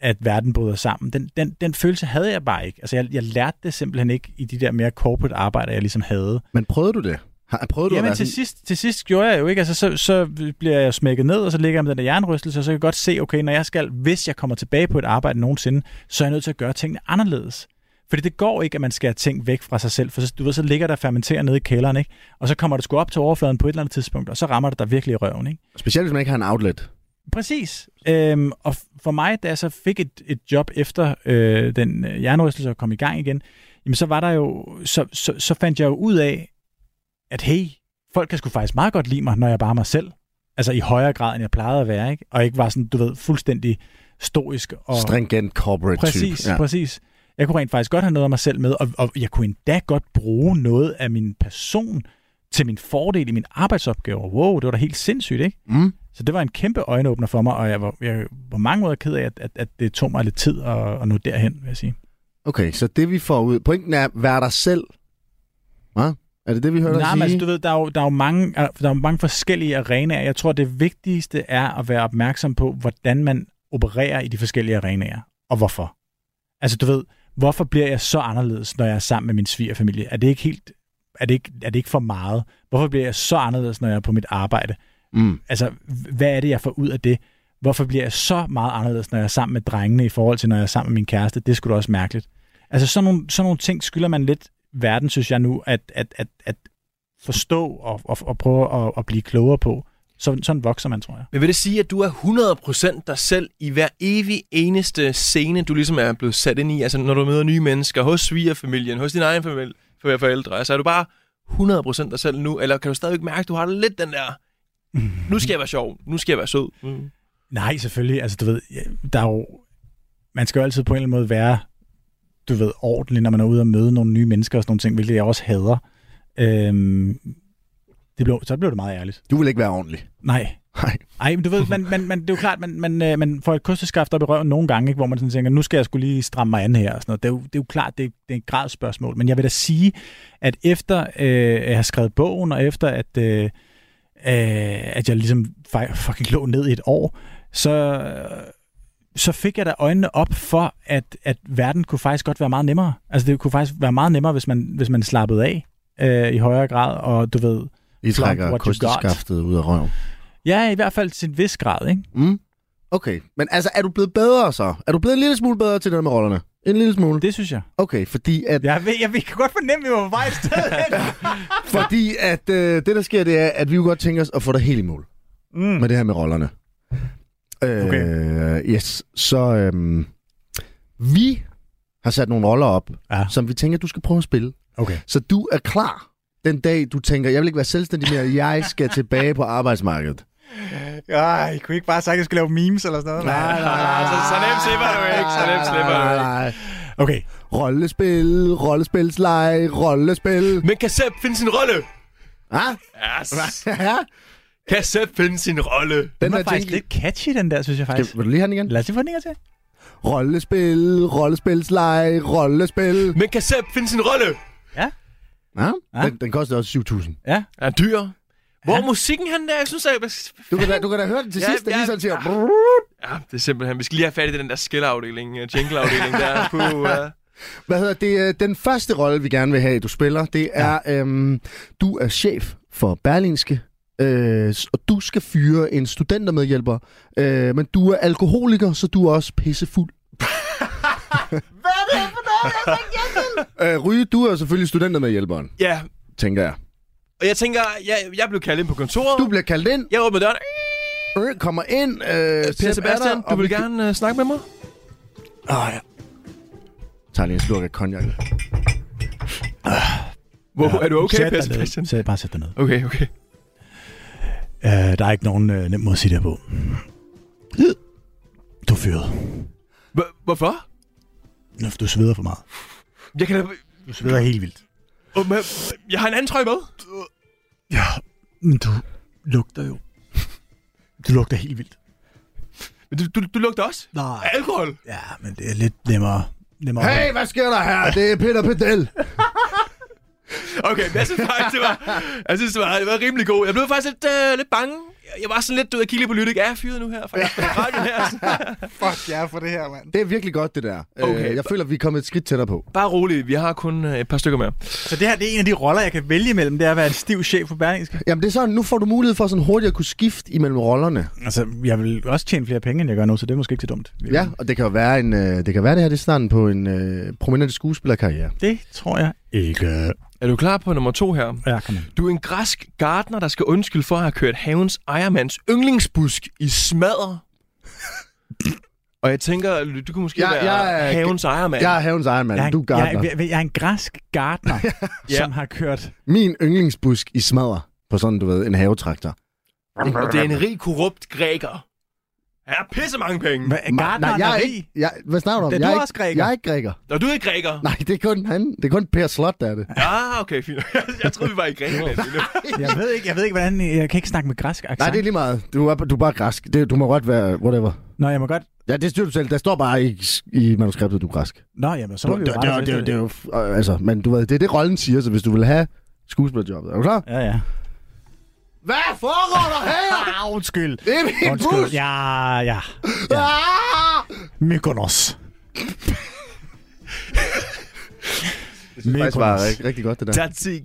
S3: at verden bryder sammen. Den, den, den følelse havde jeg bare ikke. Altså, jeg, jeg lærte det simpelthen ikke i de der mere corporate arbejder, jeg ligesom havde.
S4: Men prøvede du det? Har, prøvede du at
S3: Jamen
S4: være
S3: til
S4: sådan,
S3: sidst, til sidst gjorde jeg jo ikke, altså så, så bliver jeg smækket ned, og så ligger jeg med den der jernrystelse, og så kan jeg godt se, okay, når jeg skal, hvis jeg kommer tilbage på et arbejde nogensinde, så er jeg nødt til at gøre tingene anderledes. Fordi det går ikke, at man skal have ting væk fra sig selv, for så, du ved, så ligger der fermenterer nede i kælderen, ikke? og så kommer det sgu op til overfladen på et eller andet tidspunkt, og så rammer det dig virkelig i røven. Ikke?
S4: specielt hvis man ikke har en outlet?
S3: Præcis. Øhm, og f- for mig, da jeg så fik et, et job efter øh, den øh, hjernerystelse og kom i gang igen, jamen så var der jo, så, så, så fandt jeg jo ud af, at hey, folk kan sgu faktisk meget godt lide mig, når jeg bare er mig selv. Altså i højere grad, end jeg plejede at være, ikke? Og ikke var sådan, du ved, fuldstændig stoisk og...
S4: Og... Stringent corporate
S3: Præcis,
S4: type. Ja.
S3: præcis. Jeg kunne rent faktisk godt have noget af mig selv med, og, og jeg kunne endda godt bruge noget af min person til min fordel i min arbejdsopgaver. Wow, det var da helt sindssygt, ikke?
S4: Mm.
S3: Så det var en kæmpe øjenåbner for mig, og jeg var, jeg var på mange måder ked af, at, at, at det tog mig lidt tid at, at nå derhen, vil jeg sige.
S4: Okay, så det vi får ud... Pointen er, vær dig selv. Hva? Er det det, vi hører dig
S3: Nej, men
S4: sige?
S3: altså, du ved, der er, jo, der, er jo mange, der er jo mange forskellige arenaer. Jeg tror, det vigtigste er at være opmærksom på, hvordan man opererer i de forskellige arenaer, og hvorfor. Altså, du ved, hvorfor bliver jeg så anderledes, når jeg er sammen med min svigerfamilie? Er det ikke helt... Er det ikke, er det ikke for meget? Hvorfor bliver jeg så anderledes, når jeg er på mit arbejde?
S4: Mm.
S3: Altså, hvad er det, jeg får ud af det? Hvorfor bliver jeg så meget anderledes, når jeg er sammen med drengene, i forhold til, når jeg er sammen med min kæreste? Det skulle da også mærkeligt. Altså, sådan nogle, sådan nogle ting skylder man lidt verden, synes jeg nu, at, at, at, at forstå og, og, og prøve at, at blive klogere på. Så, sådan vokser man, tror jeg.
S5: Men vil det sige, at du er 100% dig selv i hver evig eneste scene, du ligesom er blevet sat ind i? Altså når du møder nye mennesker, hos svigerfamilien, hos din egen familie, for forældre. Altså er du bare 100% dig selv nu? Eller kan du stadigvæk mærke, at du har lidt den der, nu skal jeg være sjov, nu skal jeg være sød? Mm.
S3: Nej, selvfølgelig. Altså, du ved, ja, der er jo, man skal jo altid på en eller anden måde være, du ved, ordentlig, når man er ude og møde nogle nye mennesker og sådan nogle ting, hvilket jeg også hader. Øhm, det blev, så blev det meget ærligt.
S4: Du vil ikke være ordentlig.
S3: Nej,
S4: Nej.
S3: Ej, men du ved, man, man, man, det er jo klart, man, man, øh, man får et kosteskaft op i røven nogle gange, ikke, hvor man sådan tænker, nu skal jeg skulle lige stramme mig an her og sådan noget. Det er jo, det er jo klart, det er, det er et gradsspørgsmål. Men jeg vil da sige, at efter øh, jeg har skrevet bogen, og efter at, øh, øh, at jeg ligesom fa- fucking lå ned i et år, så, så fik jeg da øjnene op for, at, at verden kunne faktisk godt være meget nemmere. Altså det kunne faktisk være meget nemmere, hvis man, hvis man slappede af øh, i højere grad, og du ved...
S4: I
S3: Flaunt
S4: trækker
S3: what you got.
S4: kosteskaftet ud af røven.
S3: Ja, i hvert fald til en vis grad, ikke?
S4: Mm. Okay, men altså, er du blevet bedre så? Er du blevet en lille smule bedre til det der med rollerne? En lille smule?
S3: Det synes jeg.
S4: Okay, fordi at,
S3: Jeg, ved, jeg, jeg kan godt fornemme, at vi var på vej et sted hen.
S4: fordi at øh, det, der sker, det er, at vi jo godt tænker os at få dig helt i mål
S3: Mm.
S4: med det her med rollerne. Øh,
S3: Okay.
S4: Yes, så øhm, vi har sat nogle roller op,
S3: Ja.
S4: som vi tænker, du skal prøve at spille.
S3: Okay.
S4: Så du er klar den dag, du tænker, jeg vil ikke være selvstændig mere, jeg skal tilbage på arbejdsmarkedet.
S3: Ej, I kunne ikke bare sagt, at jeg skulle lave memes eller sådan noget? Nej, nej, nej.
S5: Altså, så nemt slipper du ikke, så nemt slipper du ikke.
S4: nej.
S3: Okay,
S4: Rollespil, rollespilsleje, rollespil.
S5: Men kan Sepp finde sin rolle?
S4: Ah?
S5: Yes.
S4: Ja,
S5: Kan Sepp finde sin rolle?
S3: den var faktisk lidt catchy, den der, synes jeg faktisk.
S4: Vil du lige have den igen?
S3: Lad os lige få den her til.
S4: Rollespil, rollespilsleje, rollespil.
S5: Men kan Sepp finde sin rolle?
S4: Ja,
S3: Ja.
S4: Den, den koster også 7.000.
S3: Ja.
S5: Er dyr. Hvor er musikken han der? Jeg synes, at...
S4: Du kan, da, du kan da høre den til
S5: Ja,
S4: sidst, den
S5: ja.
S4: lige sådan siger...
S5: Ja, det er simpelthen. Vi skal lige have fat i den der skilleafdeling, øh, jingleafdeling der. Puh, uh.
S4: Hvad hedder det? Øh, Den første rolle, vi gerne vil have, du spiller, det er, ja. øhm, du er chef for Berlingske, øh, s- og du skal fyre en studentermedhjælper, øh, men du er alkoholiker, så du er også pissefuld. Hvad er det for noget, jeg skal hjælpe øh, Ryge, du er selvfølgelig studentermedhjælperen,
S5: Ja,
S4: tænker jeg.
S5: og jeg tænker, jeg, jeg blev kaldt ind på kontoret.
S4: Du bliver kaldt ind,
S5: Jeg åbner døren.
S4: øh, kommer ind, øh,
S5: Per
S4: Sepp er
S5: Sebastian,
S4: der,
S5: du
S4: og
S5: vil
S4: vi-
S5: gerne øh, snakke med mig?
S4: Åh, ja. Tag lige en slurk af cognac.
S5: Hvor, er du okay,
S3: Sæt
S5: Per
S3: dig ned.
S5: Sebastian?
S3: Sæt, bare sæt dig ned.
S5: Okay, okay.
S3: Øh, der er ikke nogen øh, nem måde at sige det her på. Du er fyret.
S5: Hvor- Hvorfor?
S3: Nu- Du sveder for meget.
S5: Jeg kan da...
S3: Du sveder helt vildt.
S5: Åh, men- Jeg har en anden trøje med.
S3: Ja, men du lugter jo. Du lugter helt vildt.
S5: Men du, du, du lugter også.
S3: Nej.
S5: af Alkohol.
S3: Ja, men det er lidt nemmere. nemmere
S4: Hey, hvad sker der her? Det er Peter Pedel.
S5: Okay, men jeg synes faktisk, det var, jeg synes, det var, det var rimelig god. Jeg blev faktisk lidt, øh, lidt bange. Jeg- Jeg var sådan lidt, du ved, at kigge lidt på lyttet. Er jeg fyret nu her? Faktisk, på radioen her. Sådan.
S6: Fuck jer for det her, mand.
S4: Det er virkelig godt, det der.
S5: Okay.
S4: Okay. Jeg føler, vi er kommet et skridt tættere på.
S5: Bare rolig, vi har kun øh, et par stykker mere.
S3: Så det her det er en af de roller, jeg kan vælge imellem, det er at være en stiv chef på Berlingske.
S4: Jamen, det er sådan, nu får du mulighed for sådan hurtigt at kunne skifte imellem rollerne.
S5: Mm.
S3: Altså, jeg vil også tjene flere penge, end jeg gør nu, så det er måske ikke så dumt.
S4: Ja, og det kan jo være, en, øh, det, kan være det her, det er starten på en øh, prominent skuespillerkarriere.
S3: Det tror jeg ikke.
S5: Er du klar på nummer to her?
S3: Ja, kom ind.
S5: Du er en græsk gartner, der skal undskylde for at have kørt havens ejermands yndlingsbusk i smadder. Og jeg tænker, du kunne måske
S4: Jeg-
S5: være
S4: jeg er-
S5: havens ejermand.
S4: Jeg er havens egen mand,
S3: Jeg er,
S4: du er
S3: en,
S4: gartner.
S3: jeg, jeg, jeg er en græsk gartner,
S5: Ja.
S3: som har kørt...
S4: Min yndlingsbusk i smadder på sådan, du ved, en havetraktor.
S5: Og det er en rig, korrupt græker. Han har pisse mange penge.
S3: Hva, gartner
S4: jeg er
S3: er
S4: ikke, jeg, hvad snakker du om?
S3: Er du
S4: jeg er
S3: også
S4: ikke,
S3: græker?
S4: Jeg er ikke græker.
S5: Når du er ikke græker.
S4: Nej, det er kun han. Det er kun Per Slot, der er det.
S5: Ah, okay, fint. Jeg troede, vi var i Grækenland. endnu.
S3: Jeg ved ikke, jeg ved ikke, hvordan... Jeg kan ikke snakke med græsk accent.
S4: Nej, det er lige meget. Du er, du er bare græsk. Det, du må godt være whatever.
S3: Nå, jeg må godt...
S4: Ja, det styrer du selv. Der står bare i, i manuskriptet, du er græsk.
S3: Nå, jamen, så
S4: Du,
S3: må
S4: det,
S3: vi
S4: det,
S3: jo rette os
S4: det,
S3: efter
S4: det, det, er jo f- øh, altså, men du ved, det er det, rollen siger, så hvis du vil have skuespillerjobbet. Er du klar?
S3: Ja, ja.
S4: Hvad foregår der her?
S3: Ah, undskyld.
S4: Det er min bus!
S3: Ja, ja.
S4: Ah!
S3: Mykonos.
S4: Det var rigtig, rigtig godt, det der.
S5: Taktik.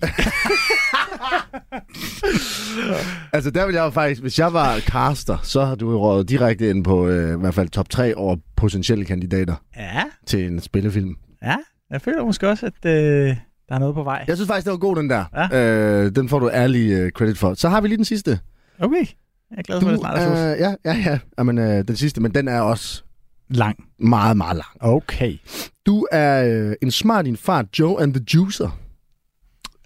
S4: Altså, der vil jeg jo faktisk... Hvis jeg var caster, så har du jo røget direkte ind på øh, i hvert fald top 3 over potentielle kandidater
S3: Ja,
S4: til en spillefilm.
S3: ja. Jeg føler måske også, at øh, der er noget på vej.
S4: Jeg synes faktisk, det var god, den der. Ja. Øh, den får du ærlig øh, credit for. Så har vi lige den sidste.
S3: Okay. Jeg er glad for, at
S4: Du,
S3: det snart er slut.
S4: øh, ja, ja, ja. Jamen, øh, den sidste, men den er også
S3: Lang.
S4: meget, meget lang.
S3: Okay.
S4: Du er øh, en smart din far, Joe and the Juicer.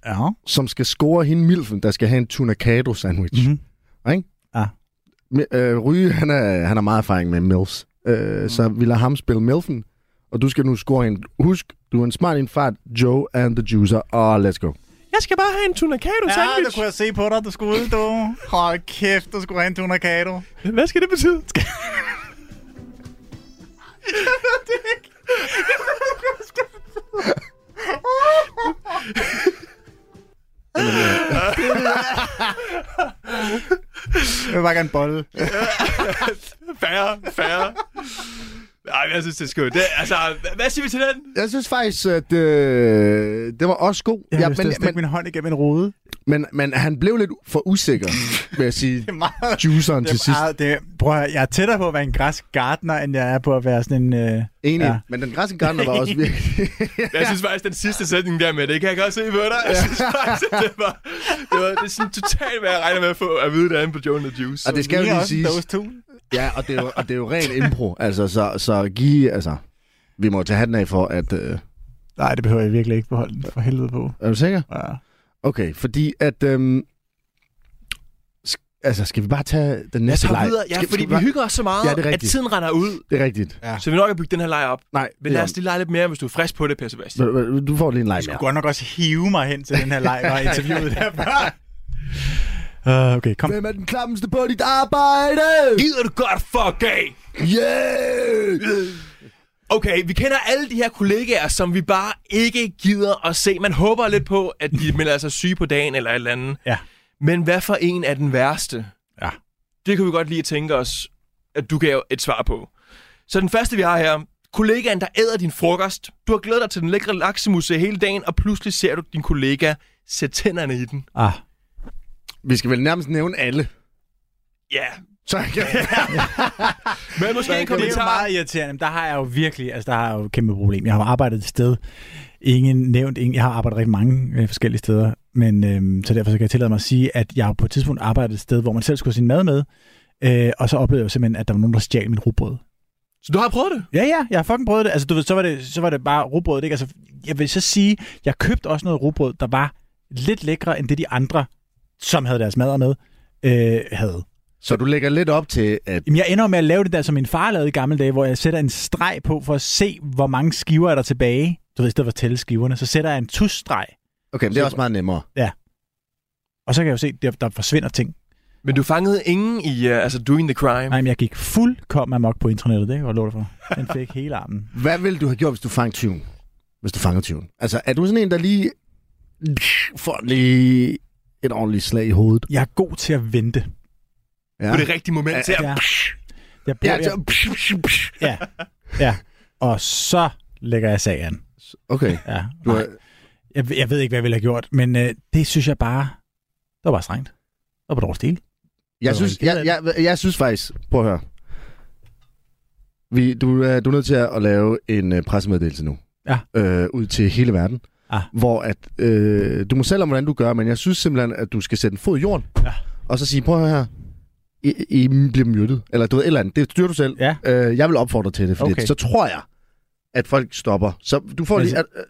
S3: Ja.
S4: som skal score hende Milfen, der skal have en tunacado sandwich.
S3: Mhm.
S4: Mm-hmm. Ikke?
S3: Ja.
S4: Me- Øh, Ryge, han er, han har meget erfaring med Mills. Øh, mm. Så vi lader ham spille Milfen, og du skal nu score hende. Husk, du er en smart infart, Joe and the Juicer, og let's go.
S5: Jeg skal bare have en tunacado
S6: Ja, det
S5: sandwich.
S6: kunne jeg se på dig, du skulle ud, du. Hold kæft, du skulle have en tunakato.
S5: Hvad skal det betyde?
S3: øh.
S6: Jeg vil bare gerne bolle.
S5: Færre, færre. Nej, jeg synes, det er skønt. Det, altså, hva- hvad siger vi til den?
S4: Jeg synes faktisk, at øh, det var også god.
S3: Jeg har lyst til
S4: men,
S3: at stikke
S4: men,
S3: min hånd igennem en rode.
S4: men, men han blev lidt for usikker, vil jeg sige,
S6: Meget.
S4: Juiceren
S3: Det,
S4: til sidst.
S3: er, det, prøv at, høre, jeg er tættere på at være en græsk gartner, end jeg er på at være sådan en... Øh,
S4: Enig.
S3: Ja.
S4: Ja. Men den græske gartner var også virkelig...
S5: Jeg synes faktisk, den sidste sætning der med, det kan jeg godt se på dig. Jeg synes faktisk, at det var, det var det er sådan totalt, hvad jeg regner med at få at vide derinde på Joe and the Juice.
S4: og det skal jo
S6: Vi er
S4: lige
S6: også en
S4: siges.
S6: dose to.
S4: Ja, og det er jo, og det er jo ren impro. Altså, så, så give... Altså, vi må tage hatten af for, at... Øh,
S3: nej, det behøver jeg virkelig ikke beholde den for helvede på.
S4: er du sikker?
S3: Ja.
S4: Okay, fordi at... Øh, altså, skal vi bare tage den
S5: jeg
S4: næste
S5: tager
S4: leg?
S5: videre, ja,
S4: Skal-
S5: fordi
S4: skal
S5: vi
S4: bare-
S5: hygger os så meget,
S4: Ja, det er
S5: at
S4: rigtigt. Ah.
S5: tiden render ud.
S4: Det er rigtigt.
S5: Så vi nok at bygge den her leg op.
S4: Nej,
S5: Men lad os lige lege lidt mere, hvis du er frisk på det, Per Sebastian.
S4: lige... Du får lige en leg
S3: Jeg skulle
S4: mere.
S3: godt nok også hive mig hen til den her leg, og interviewet der før. Uh, okay, kom.
S4: Hvem er den klammeste på dit arbejde?
S5: Gider du godt fuck af?
S4: Yeah!
S5: Okay, vi kender alle de her kollegaer, som vi bare ikke gider at se. Man håber lidt på, at de melder sig syge på dagen eller et eller andet.
S3: Ja.
S5: Men hvad for en er den værste?
S3: Ja.
S5: Det kan vi godt lige tænke os, at du gav et svar på. Så den første, vi har her, kollegaen, der æder din frokost. Du har glædet dig til den lækre laksemousse hele dagen, og pludselig ser du din kollega sætte tænderne i den.
S3: Ah,
S4: Vi skal vel nærmest nævne alle.
S5: Ja,
S4: Så jeg kan...
S5: men måske
S3: det er
S5: en
S3: jo
S5: kommentar.
S3: meget irriterende. Men der har jeg jo virkelig, altså der har jeg jo et kæmpe problem. Jeg har jo arbejdet et sted, ingen nævnt, ingen, jeg har arbejdet rigtig mange øh, forskellige steder, men øhm, så derfor så kan jeg tillade mig at sige, at jeg har på et tidspunkt arbejdet et sted, hvor man selv skulle have sin mad med, øh, og så oplevede jeg jo simpelthen, at der var nogen, der stjal min rugbrød.
S5: Så du har prøvet det?
S3: Ja, ja, jeg har fucking prøvet det. Altså, du ved, så var det, så var det bare rugbrød, ikke? Altså, jeg vil så sige, jeg købte også noget rugbrød, der var lidt lækre end det, de andre, som havde deres madder med, øh, havde.
S4: Så du lægger lidt op til, at
S3: Jamen, jeg ender jo med at lave det der, som min far lavede i gamle dage, hvor jeg sætter en streg på for at se, hvor mange skiver er der tilbage. Du ved, i stedet for at tælle skiverne, så sætter jeg en tusstreg,
S4: Okay, men det er også meget nemmere.
S3: og så kan jeg jo se, der, der forsvinder ting.
S5: Men du fangede ingen i, uh, altså, doing the crime.
S3: Nej, men jeg gik fuldkommen amok på internettet, det kan jeg godt love dig for. Den fik hele armen.
S4: Hvad ville du have gjort, hvis du fangede tyven? Hvis du fangede tyven? Altså, er du sådan en, der lige får lige et ordentligt slag i hovedet?
S3: Jeg er god til at vente.
S4: Ja.
S5: På det rigtige moment til at...
S3: Ja. Jeg bruger,
S4: Ja,
S3: ja, jeg,
S4: så...
S3: ja, ja. Og så lægger jeg sagen.
S4: Okay.
S3: Ja,
S4: Du
S3: nej.
S4: er...
S3: Jeg, jeg ved ikke, hvad jeg ville have gjort, men øh, det synes jeg bare, det var bare strengt. Det var bare dårlig stil.
S4: Jeg
S3: Det var
S4: synes,
S3: en
S4: jeg,
S3: ked af
S4: jeg, jeg synes faktisk, prøv at høre. Vi, du, er- du er nødt til at lave en øh, pressemeddelelse nu.
S3: Ja.
S4: Øh, ud til hele verden.
S3: Ah.
S4: Hvor at, øh, du må selv om, hvordan du gør, men jeg synes simpelthen, at du skal sætte en fod i jorden.
S3: Ja.
S4: Og så sige, prøv at høre her. I, I bliver myrdet. Eller du ved, et eller andet. Det styrer du selv.
S3: Ja.
S4: Øh, jeg vil opfordre til det, fordi
S3: Okay.
S4: okay. så tror jeg, at folk stopper. Så du får
S3: Men
S4: lige... At, øh,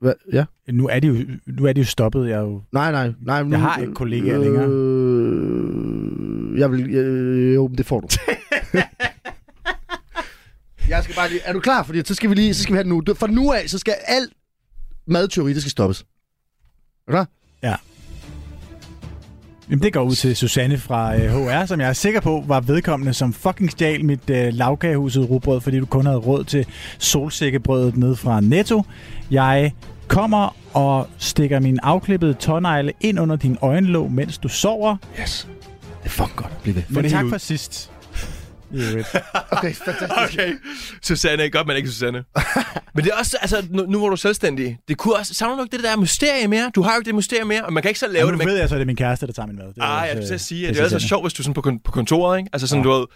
S4: hvad? Ja?
S3: Nu er de jo, nu er de jo stoppet. Jeg er jo
S4: Nej, nej. nej men
S3: Jeg
S4: nu-
S3: har ikke kollegaer længere.
S4: Øh, jeg vil... Øh, jo, men det får du. jeg skal bare lige... Er du klar? Fordi så skal vi lige... Så skal vi have det nu. Du- Fra nu af, så skal alt madteori, det skal stoppes. Er du klar?
S3: Jamen, det går ud til Susanne fra øh, HR, som jeg er sikker på var vedkommende, som fucking stjal mit øh, lavkagehuset rugbrød, fordi du kun havde råd til solsikkebrødet ned fra Netto. Jeg kommer og stikker min afklippede tånegle ind under din øjenlåg, mens du sover.
S4: Yes. Det er fucking godt. Bliv ved.
S3: Men
S5: det
S3: tak
S5: hele ud.
S3: for sidst. I øvrigt.
S4: Okay, fantastisk.
S5: Okay, Susanne. Godt, men ikke Susanne. men det er også, altså, nu, nu hvor du er selvstændig, det kunne også, savner du ikke det der mysterie mere? Du har jo ikke det mysterie mere, og man kan ikke selv lave
S3: Og nu
S5: det. Man
S3: ved jeg så, at det er min kæreste, der tager min mad. Det er
S5: Ah,
S3: også, øh,
S5: jeg skulle til at sige,
S3: det
S5: at
S3: er
S5: det er altså
S3: Susanne.
S5: sjovt, hvis du er sådan på, kon- på kontoret, ikke? Altså sådan, ja. du ved,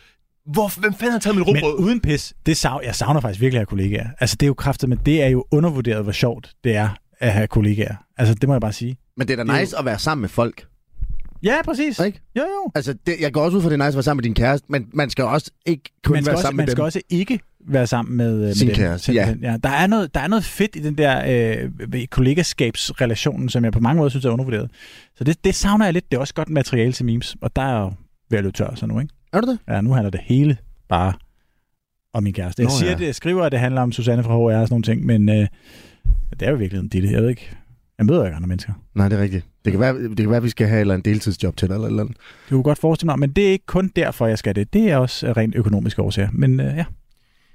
S5: hvor, hvem fanden har taget mit
S3: Men
S5: rugbrød?
S3: uden pis, det sav, jeg savner faktisk virkelig at have kollegaer. Altså, det er jo kraftet, men det er jo undervurderet, hvor sjovt det er at have kollegaer. Altså, det må jeg bare sige.
S4: Men det er
S3: Det
S4: da
S3: er
S4: nice at være sammen med folk.
S3: Ja, præcis.
S4: Ikke?
S3: Jo, jo.
S4: Altså, det, jeg går også ud fra, at det er nice at være sammen med din kæreste, men man skal også ikke kun
S3: man skal,
S4: være
S3: også,
S4: sammen
S3: man
S4: med
S3: skal
S4: dem.
S3: også ikke være sammen med, øh, med
S4: Sin
S3: dem,
S4: kæreste,
S3: simpelthen. ja. Der er, noget, der er noget fedt i den der øh, ved kollegaskabsrelationen, som jeg på mange måder synes er undervurderet. Så det, det savner jeg lidt. Det er også godt materiale til memes, og der er jo ved at løbe tør så nu, ikke?
S4: Er du det?
S3: Ja, nu handler det hele bare om min kæreste. Jeg
S4: Nå,
S3: siger,
S4: ja.
S3: det, jeg skriver, at det handler om Susanne fra HR og sådan nogle ting, men øh, det er jo i virkeligheden det, det. Jeg ved ikke. Jeg møder jo ikke andre mennesker.
S4: Nej, det er rigtigt. Det kan være, det kan være at vi skal have et eller andet deltidsjob til dig, eller et eller andet.
S3: Det kunne godt forestille mig, men det er ikke kun derfor, jeg skal det. Det er også af rent økonomiske årsager. Men øh, ja,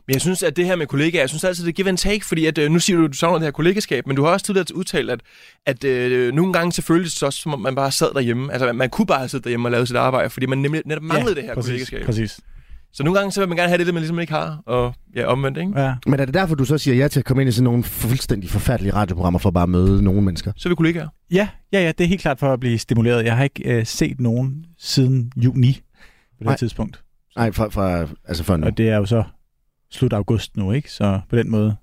S5: Men jeg synes, at det her med kollegaer, jeg synes altid, det er give and take, fordi at, øh, nu siger du, at du savner det her kollegaskab, men du har også tidligere udtalt, at, at øh, nogle gange selvfølgelig så også, som om man bare sad derhjemme. Altså, man, man kunne bare have siddet derhjemme og lavet sit arbejde, fordi man nemlig netop manglede
S3: ja,
S5: det her
S3: præcis,
S5: kollegaskab.
S3: Præcis.
S5: Så nogle gange så vil man gerne have det, det man ligesom ikke har, og ja, omvendt, ikke?
S3: Ja.
S4: Men er det derfor, du så siger ja til at komme ind i sådan nogle fuldstændig forfærdelige radioprogrammer for bare at møde nogle mennesker?
S5: Så er vi kollegaer.
S3: Ja, ja, ja, det er helt klart for at blive stimuleret. Jeg har ikke øh, set nogen siden juni på det
S4: Nej.
S3: Nej. tidspunkt.
S4: Nej, fra, fra, altså for nu.
S3: Og det er jo så slut august nu, ikke? Så på den måde,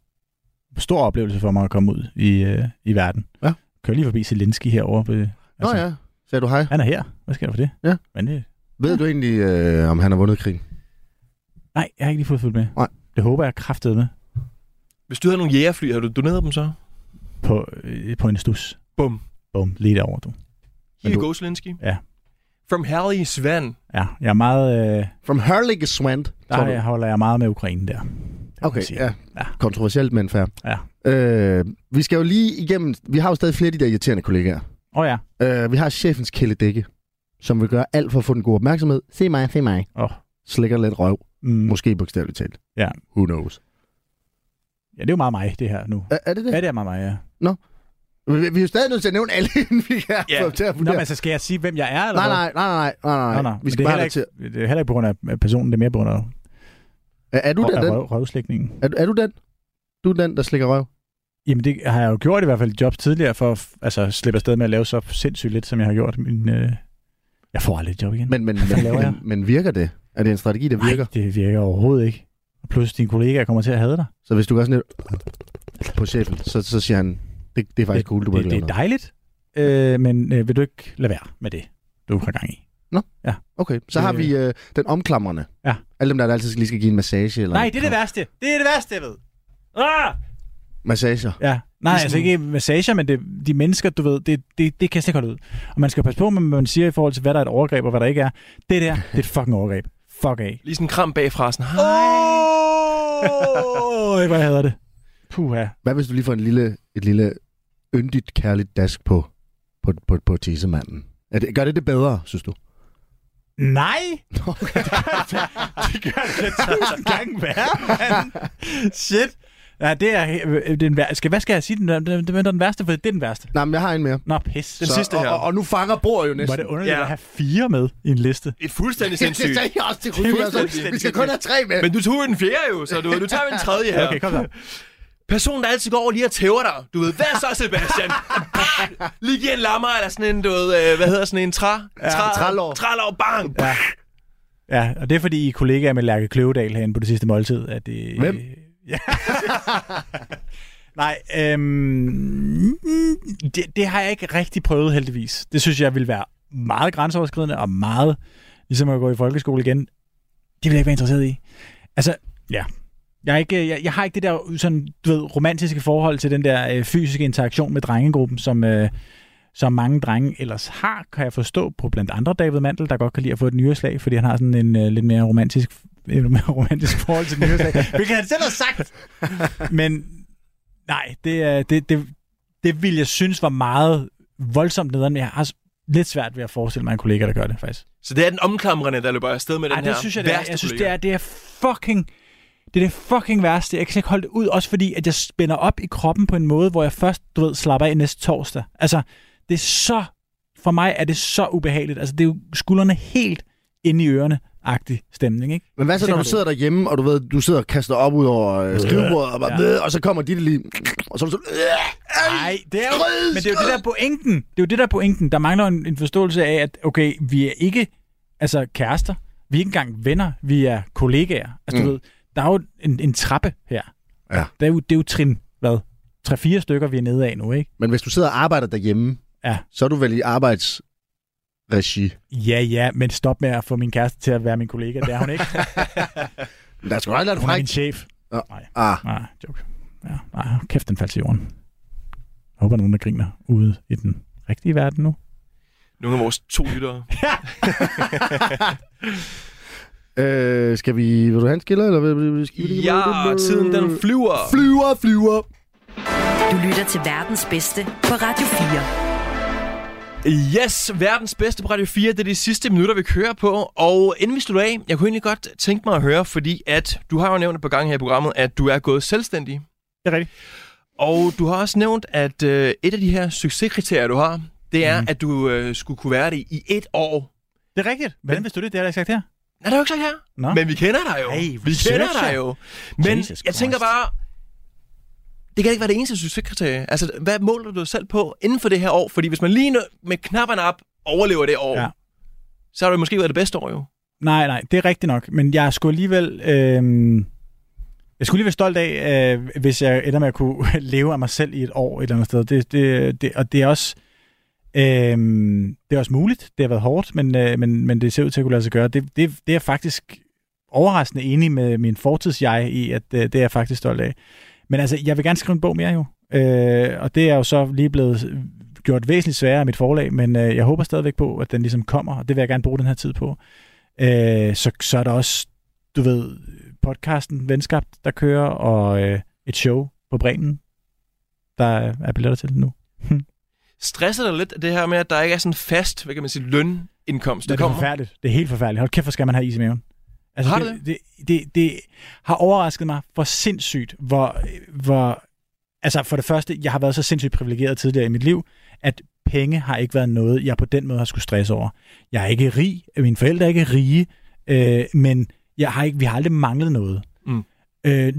S3: stor oplevelse for mig at komme ud i, øh, i verden.
S4: Ja.
S3: Kører lige forbi Zelensky herovre. På, altså,
S4: Nå ja, sagde du hej.
S3: Han er her. Hvad sker der for det?
S4: Ja.
S3: Men det,
S4: Ved du egentlig, øh, om han har vundet krigen?
S3: nej, jeg har ikke lige fået fuldt med.
S4: Nej.
S3: Det håber jeg kraftede med
S5: Hvis du havde nogle jægerfly, havde du doneret dem så?
S3: på, øh, på en stus.
S5: Bum.
S3: Bum, lige derovre, du.
S5: Here
S4: du-
S5: goes Zelensky.
S3: Ja.
S5: From Harry Svan.
S3: Ja, jeg er meget, øh,
S4: From Hurling Swand,
S3: der jeg holder jeg meget med Ukraine der. Det må man
S4: Okay,
S3: sige.
S4: ja.
S3: Ja.
S4: Kontroversielt, men fair.
S3: Ja.
S4: Øh, vi skal jo lige igennem... Vi har jo stadig flere af de der irriterende kollegaer.
S3: Åh oh, ja.
S4: Øh, vi har chefens kæledække, som vil gøre alt for at få den gode opmærksomhed. Se mig, se mig.
S3: Åh.
S4: Slikker lidt røv.
S3: Mm.
S4: Måske bogstaveligt talt.
S3: Ja.
S4: Who knows?
S3: Ja, det er jo meget mig, det her nu.
S4: Er, er det det?
S3: Ja, det er meget mig, ja.
S4: Vi, vi er jo stadig nødt til at nævne alle, inden vi kan
S5: Ja.
S4: få dem til at
S3: Nå,
S4: vurdere.
S3: men så skal jeg sige, hvem jeg er, eller
S4: Nej,
S3: hvad?
S4: nej, nej, nej, nej, nej.
S3: Nå, nå.
S4: Vi
S3: Vi
S4: skal
S3: det, er
S4: bare
S3: heller
S4: have til.
S3: ikke, det er heller ikke på grund af personen, det er mere på grund af
S4: Er, er du
S3: Røv-
S4: den? den?
S3: Røv, røvslægtningen.
S4: Er, du- er du den? Du er den, der slikker røv?
S3: Jamen det har jeg jo gjort i hvert fald i job tidligere, for at f- altså, at slippe afsted med at lave så sindssygt lidt, som jeg har gjort. Men, øh, jeg får aldrig et job igen.
S4: Men, men,
S3: Hvad laver
S4: men,
S3: jeg?
S4: men, men virker det? Er det en strategi, der virker?
S3: Nej, det virker overhovedet ikke. Og pludselig dine kollegaer kommer til at have dig.
S4: Så hvis du gør sådan lidt på chefen, så, så siger han, det, det er faktisk
S3: det,
S4: cool, du må
S3: det,
S4: ikke
S3: det
S4: lave
S3: er
S4: noget.
S3: dejligt, øh, men øh, vil du ikke lade være med det, du har gang i?
S4: Okay, så har
S3: Øh.
S4: vi øh, den omklamrende.
S3: Ja.
S4: Alle dem, der altid lige skal give en massage. Eller en kram.
S3: værste.
S6: Det er det værste, jeg ved.
S5: Ah!
S4: Massager.
S3: Ja. Nej,
S4: Ligesom-
S3: altså ikke massager, men det, de mennesker, du ved, det, det, det kan jeg slet ikke holde ud. Og man skal passe på, med, hvad man siger i forhold til, hvad der er et overgreb og hvad der ikke er. Det der, det er et fucking overgreb. Fuck af.
S5: Lige sådan en kram bagfra, sådan, hej.
S3: Åh, oh, hvor jeg hader det. Puha.
S4: Hvad hvis du lige får en lille, et lille yndigt, kærligt dask på, på, på, på tissemanden? Er det, gør det det bedre, synes du?
S3: Nej! det gør det tusind gange værre, mand. Shit. Ja, det er, øh, den vær- skal, hvad skal jeg sige? Den, den, den, den, den værste, for det er den værste.
S4: Nej, men jeg har en mere.
S3: Nå, pis.
S5: Den sidste
S4: og,
S5: her.
S4: og, og, nu fanger bord jo
S3: Var
S4: næsten.
S3: det underligt
S5: Ja.
S3: at have fire med i en liste?
S5: Et
S4: det
S5: fuldstændig sindssygt.
S4: sagde jeg også til
S5: er
S4: Rune.
S5: fuldstændig
S4: Vi skal kun have tre med.
S5: Men du tog jo den fjerde jo, så du, nu tager vi den tredje her.
S3: Okay, kom så.
S5: Personen, der altid går over lige og tæver dig. Du ved, hvad så, Sebastian? lige giver en lammer eller sådan en, du ved, øh, hvad hedder sådan en træ? træ
S4: trælår.
S5: Trælår, bang! Ja.
S3: Ja, og det er fordi, I er kollegaer med Lærke Kløvedal herinde på det sidste måltid. At det,
S4: Hvem?
S3: Ja. Nej, øhm, mm, det, det har jeg ikke rigtig prøvet heldigvis. Det synes jeg ville være meget grænseoverskridende og meget ligesom at gå i folkeskole igen. Det vil jeg ikke være interesseret i. Altså, ja. Jeg, er ikke, øh, jeg, jeg har ikke det der sådan, du ved, romantiske forhold til den der øh, fysiske interaktion med drengegruppen, som, øh, som mange drenge ellers har, kan jeg forstå på blandt andre David Mandel, der godt kan lide at få et nyreslag, fordi han har sådan en øh, lidt mere romantisk en mere romantisk forhold til nyreslag, hvilket han selv har sagt. Men nej, det, er- det, det, det vil jeg synes var meget voldsomt nederen, men jeg har også lidt svært ved at forestille mig en kollega, der gør det faktisk.
S5: Så det er den omklamrende, der løber afsted med den
S3: Ej,
S5: her.
S3: det synes jeg, det er.
S5: værste
S3: Jeg synes, det
S5: kollega.
S3: er, det er fucking... Det er det fucking værste. Jeg kan slet ikke holde det ud, også fordi, at jeg spænder op i kroppen på en måde, hvor jeg først, du ved, slapper af næste torsdag. Altså, det er så... For mig er det så ubehageligt. Altså, det er jo skuldrene helt inde i ørerne-agtig stemning, ikke?
S4: Men hvad så, når du sidder derhjemme, og du ved, du sidder og kaster op ud over øh, skrivebordet, og, bare, øh, og så kommer de lige, og så er du sådan, øh,
S3: Nej, det er jo, men det er jo det der er pointen. Det er jo det der er pointen. Der mangler en, en forståelse af, at okay, vi er ikke altså kærester. Vi er ikke engang venner. Vi er kollegaer. Altså, mm. du ved, der er jo en, en trappe her.
S4: Ja.
S3: Det er jo, det er jo trin, hvad? 3-4 stykker, vi er nede af nu, ikke?
S4: Men hvis du sidder og arbejder derhjemme,
S3: Ja.
S4: så er du vel i arbejdsregi.
S3: Ja, ja, men stop med at få min kæreste til at være min kollega. Det er hun ikke.
S4: Der skal du aldrig lade
S3: Hun er min
S4: fræk.
S3: chef.
S4: Ah,
S3: Nej, joke. Ja, nej, kæft, den faldt til jorden. Jeg håber, nogen der griner ude i den rigtige verden nu.
S5: Nogle af vores to lyttere.
S4: øh, skal vi, vil du have en skiller, eller vil, vil, vil- skal vi lige-
S5: Ja, tiden den flyver.
S4: flyver, flyver.
S2: Du lytter til verdens bedste på Radio 4.
S5: Yes, verdens bedste på Radio 4, det er de sidste minutter, vi kører på. Og inden vi slutter af, jeg kunne egentlig godt tænke mig at høre, fordi at du har jo nævnt et par gange her i programmet, at du er gået selvstændig.
S3: Det er rigtigt.
S5: Og du har også nævnt, at øh, et af de her succeskriterier, du har, det
S3: Mhm.
S5: er, mm. at du øh, skulle kunne være det i et år.
S3: Det er rigtigt. Hvordan vidste du det? Det har jeg da ikke sagt her.
S5: Nej, det er jo ikke sagt her.
S3: Nå.
S5: Men vi kender dig jo.
S3: Ej,
S5: vi kender
S3: researcher.
S5: dig jo. Men
S3: Jesus
S5: jeg tænker
S3: Christ.
S5: bare, det kan ikke være det eneste succeskriterie. Altså, hvad måler du dig selv på inden for det her år? Fordi hvis man lige nu med knapperne op overlever det år,
S3: Ja.
S5: ja. så har det måske været det bedste år jo.
S3: Nej, nej, det er rigtigt nok. Men jeg skulle alligevel... Øh, jeg skulle lige være stolt af, øh, hvis jeg ender med at kunne leve af mig selv i et år et eller andet sted. Det, det, det, og det er også... Øh, det er også muligt. Det har været hårdt, men, øh, men, men det ser ud til at kunne lade sig gøre. Det, det, det er jeg faktisk overraskende enig med min fortidsjeg i, at øh, det er jeg faktisk stolt af. Men altså, jeg vil gerne skrive en bog mere jo. Øh, og det er jo så lige blevet gjort væsentligt sværere af mit forlag, men øh, jeg håber stadigvæk på, at den ligesom kommer, og det vil jeg gerne bruge den her tid på. Øh, så, så er der også, du ved, podcasten Venskab, der kører, og øh, et show på Bremen, der er billetter til nu.
S5: Stresser dig lidt det her med, at der ikke er sådan fast, hvad kan man sige,
S3: Det
S5: lønindkomst, der
S3: er
S5: kommer?
S3: forfærdeligt. Det er helt forfærdeligt. Hold kæft, hvor skal man have is i maven. Altså,
S5: Har du
S3: det, det, det, det har overrasket mig for sindssygt, hvor, hvor... Altså, for det første, jeg har været så sindssygt privilegeret tidligere i mit liv, at penge har ikke været noget, jeg på den måde har skulle stresse over. Jeg er ikke rig, mine forældre er ikke rige, øh, men jeg har ikke, vi har aldrig manglet noget.
S5: Mm.
S3: Øh,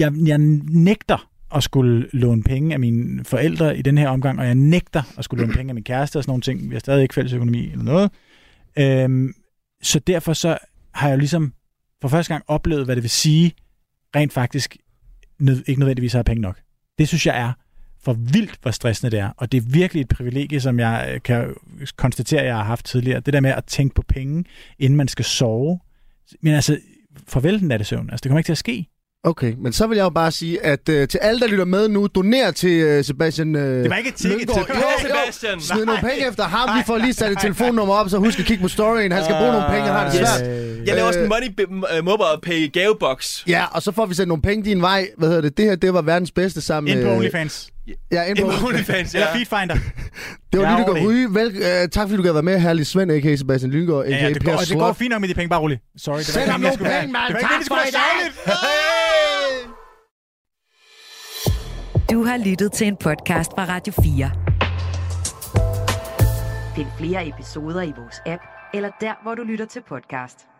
S3: jeg, jeg nægter at skulle låne penge af mine forældre i den her omgang, og jeg nægter at skulle låne penge af min kæreste og sådan nogle ting. Vi har stadig ikke fælles økonomi eller noget. Øhm, så derfor så har jeg jo ligesom for første gang oplevet, hvad det vil sige, rent faktisk nød, ikke nødvendigvis har penge nok. Det synes jeg er for vildt, hvor stressende det er. Og det er virkelig et privilegie, som jeg øh, kan konstatere, jeg har haft tidligere. Det der med at tænke på penge, inden man skal sove. Men altså, farvel den natte søvn. Altså, det kommer ikke til at ske.
S4: Okay, men så vil jeg jo bare sige, at øh, til alle, der lytter med nu, doner til øh, Sebastian øh,
S3: Det var ikke et tikke
S4: Lynggaard.
S5: til
S4: Jo, jo,
S5: Sebastian.
S4: Smid nogle penge efter ham. Vi får lige sat et telefonnummer op, så husk at kigge på storyen. Han skal bruge nogle penge, han har det
S5: Yes.
S4: svært.
S5: Jeg laver også en
S4: Øh.
S5: money bi- øh, mobile pay gavebox.
S4: Ja, og så får vi sendt nogle penge din vej. Hvad hedder det? Det her, det var verdens bedste sammen
S3: Ind på
S4: med...
S3: OnlyFans.
S4: Ja, ind på
S5: En OnlyFans,
S3: Eller
S5: ja.
S3: Feedfinder.
S4: Det var
S3: Jeg er
S4: Lytte
S3: ordentlig.
S4: Ryge. Vel, øh, tak fordi du gad være med, herlig Svend, a.k.a. Sebastian Lyngård, a.k.a.
S3: Ja, ja, det, går,
S4: Per
S3: og det går
S4: Slot.
S3: fint nok med de penge, bare roligt. Sorry, det var
S4: Send
S3: ikke
S4: ham
S3: dem, jeg
S4: nogle
S3: skulle have.
S4: penge, mand.
S3: Det var ikke
S4: Tak
S3: det, vi skulle
S4: for
S3: have
S4: i dag.
S3: sagt.
S2: Du har lyttet til en podcast fra Radio 4. Find flere episoder i vores app, eller der, hvor du lytter til podcast.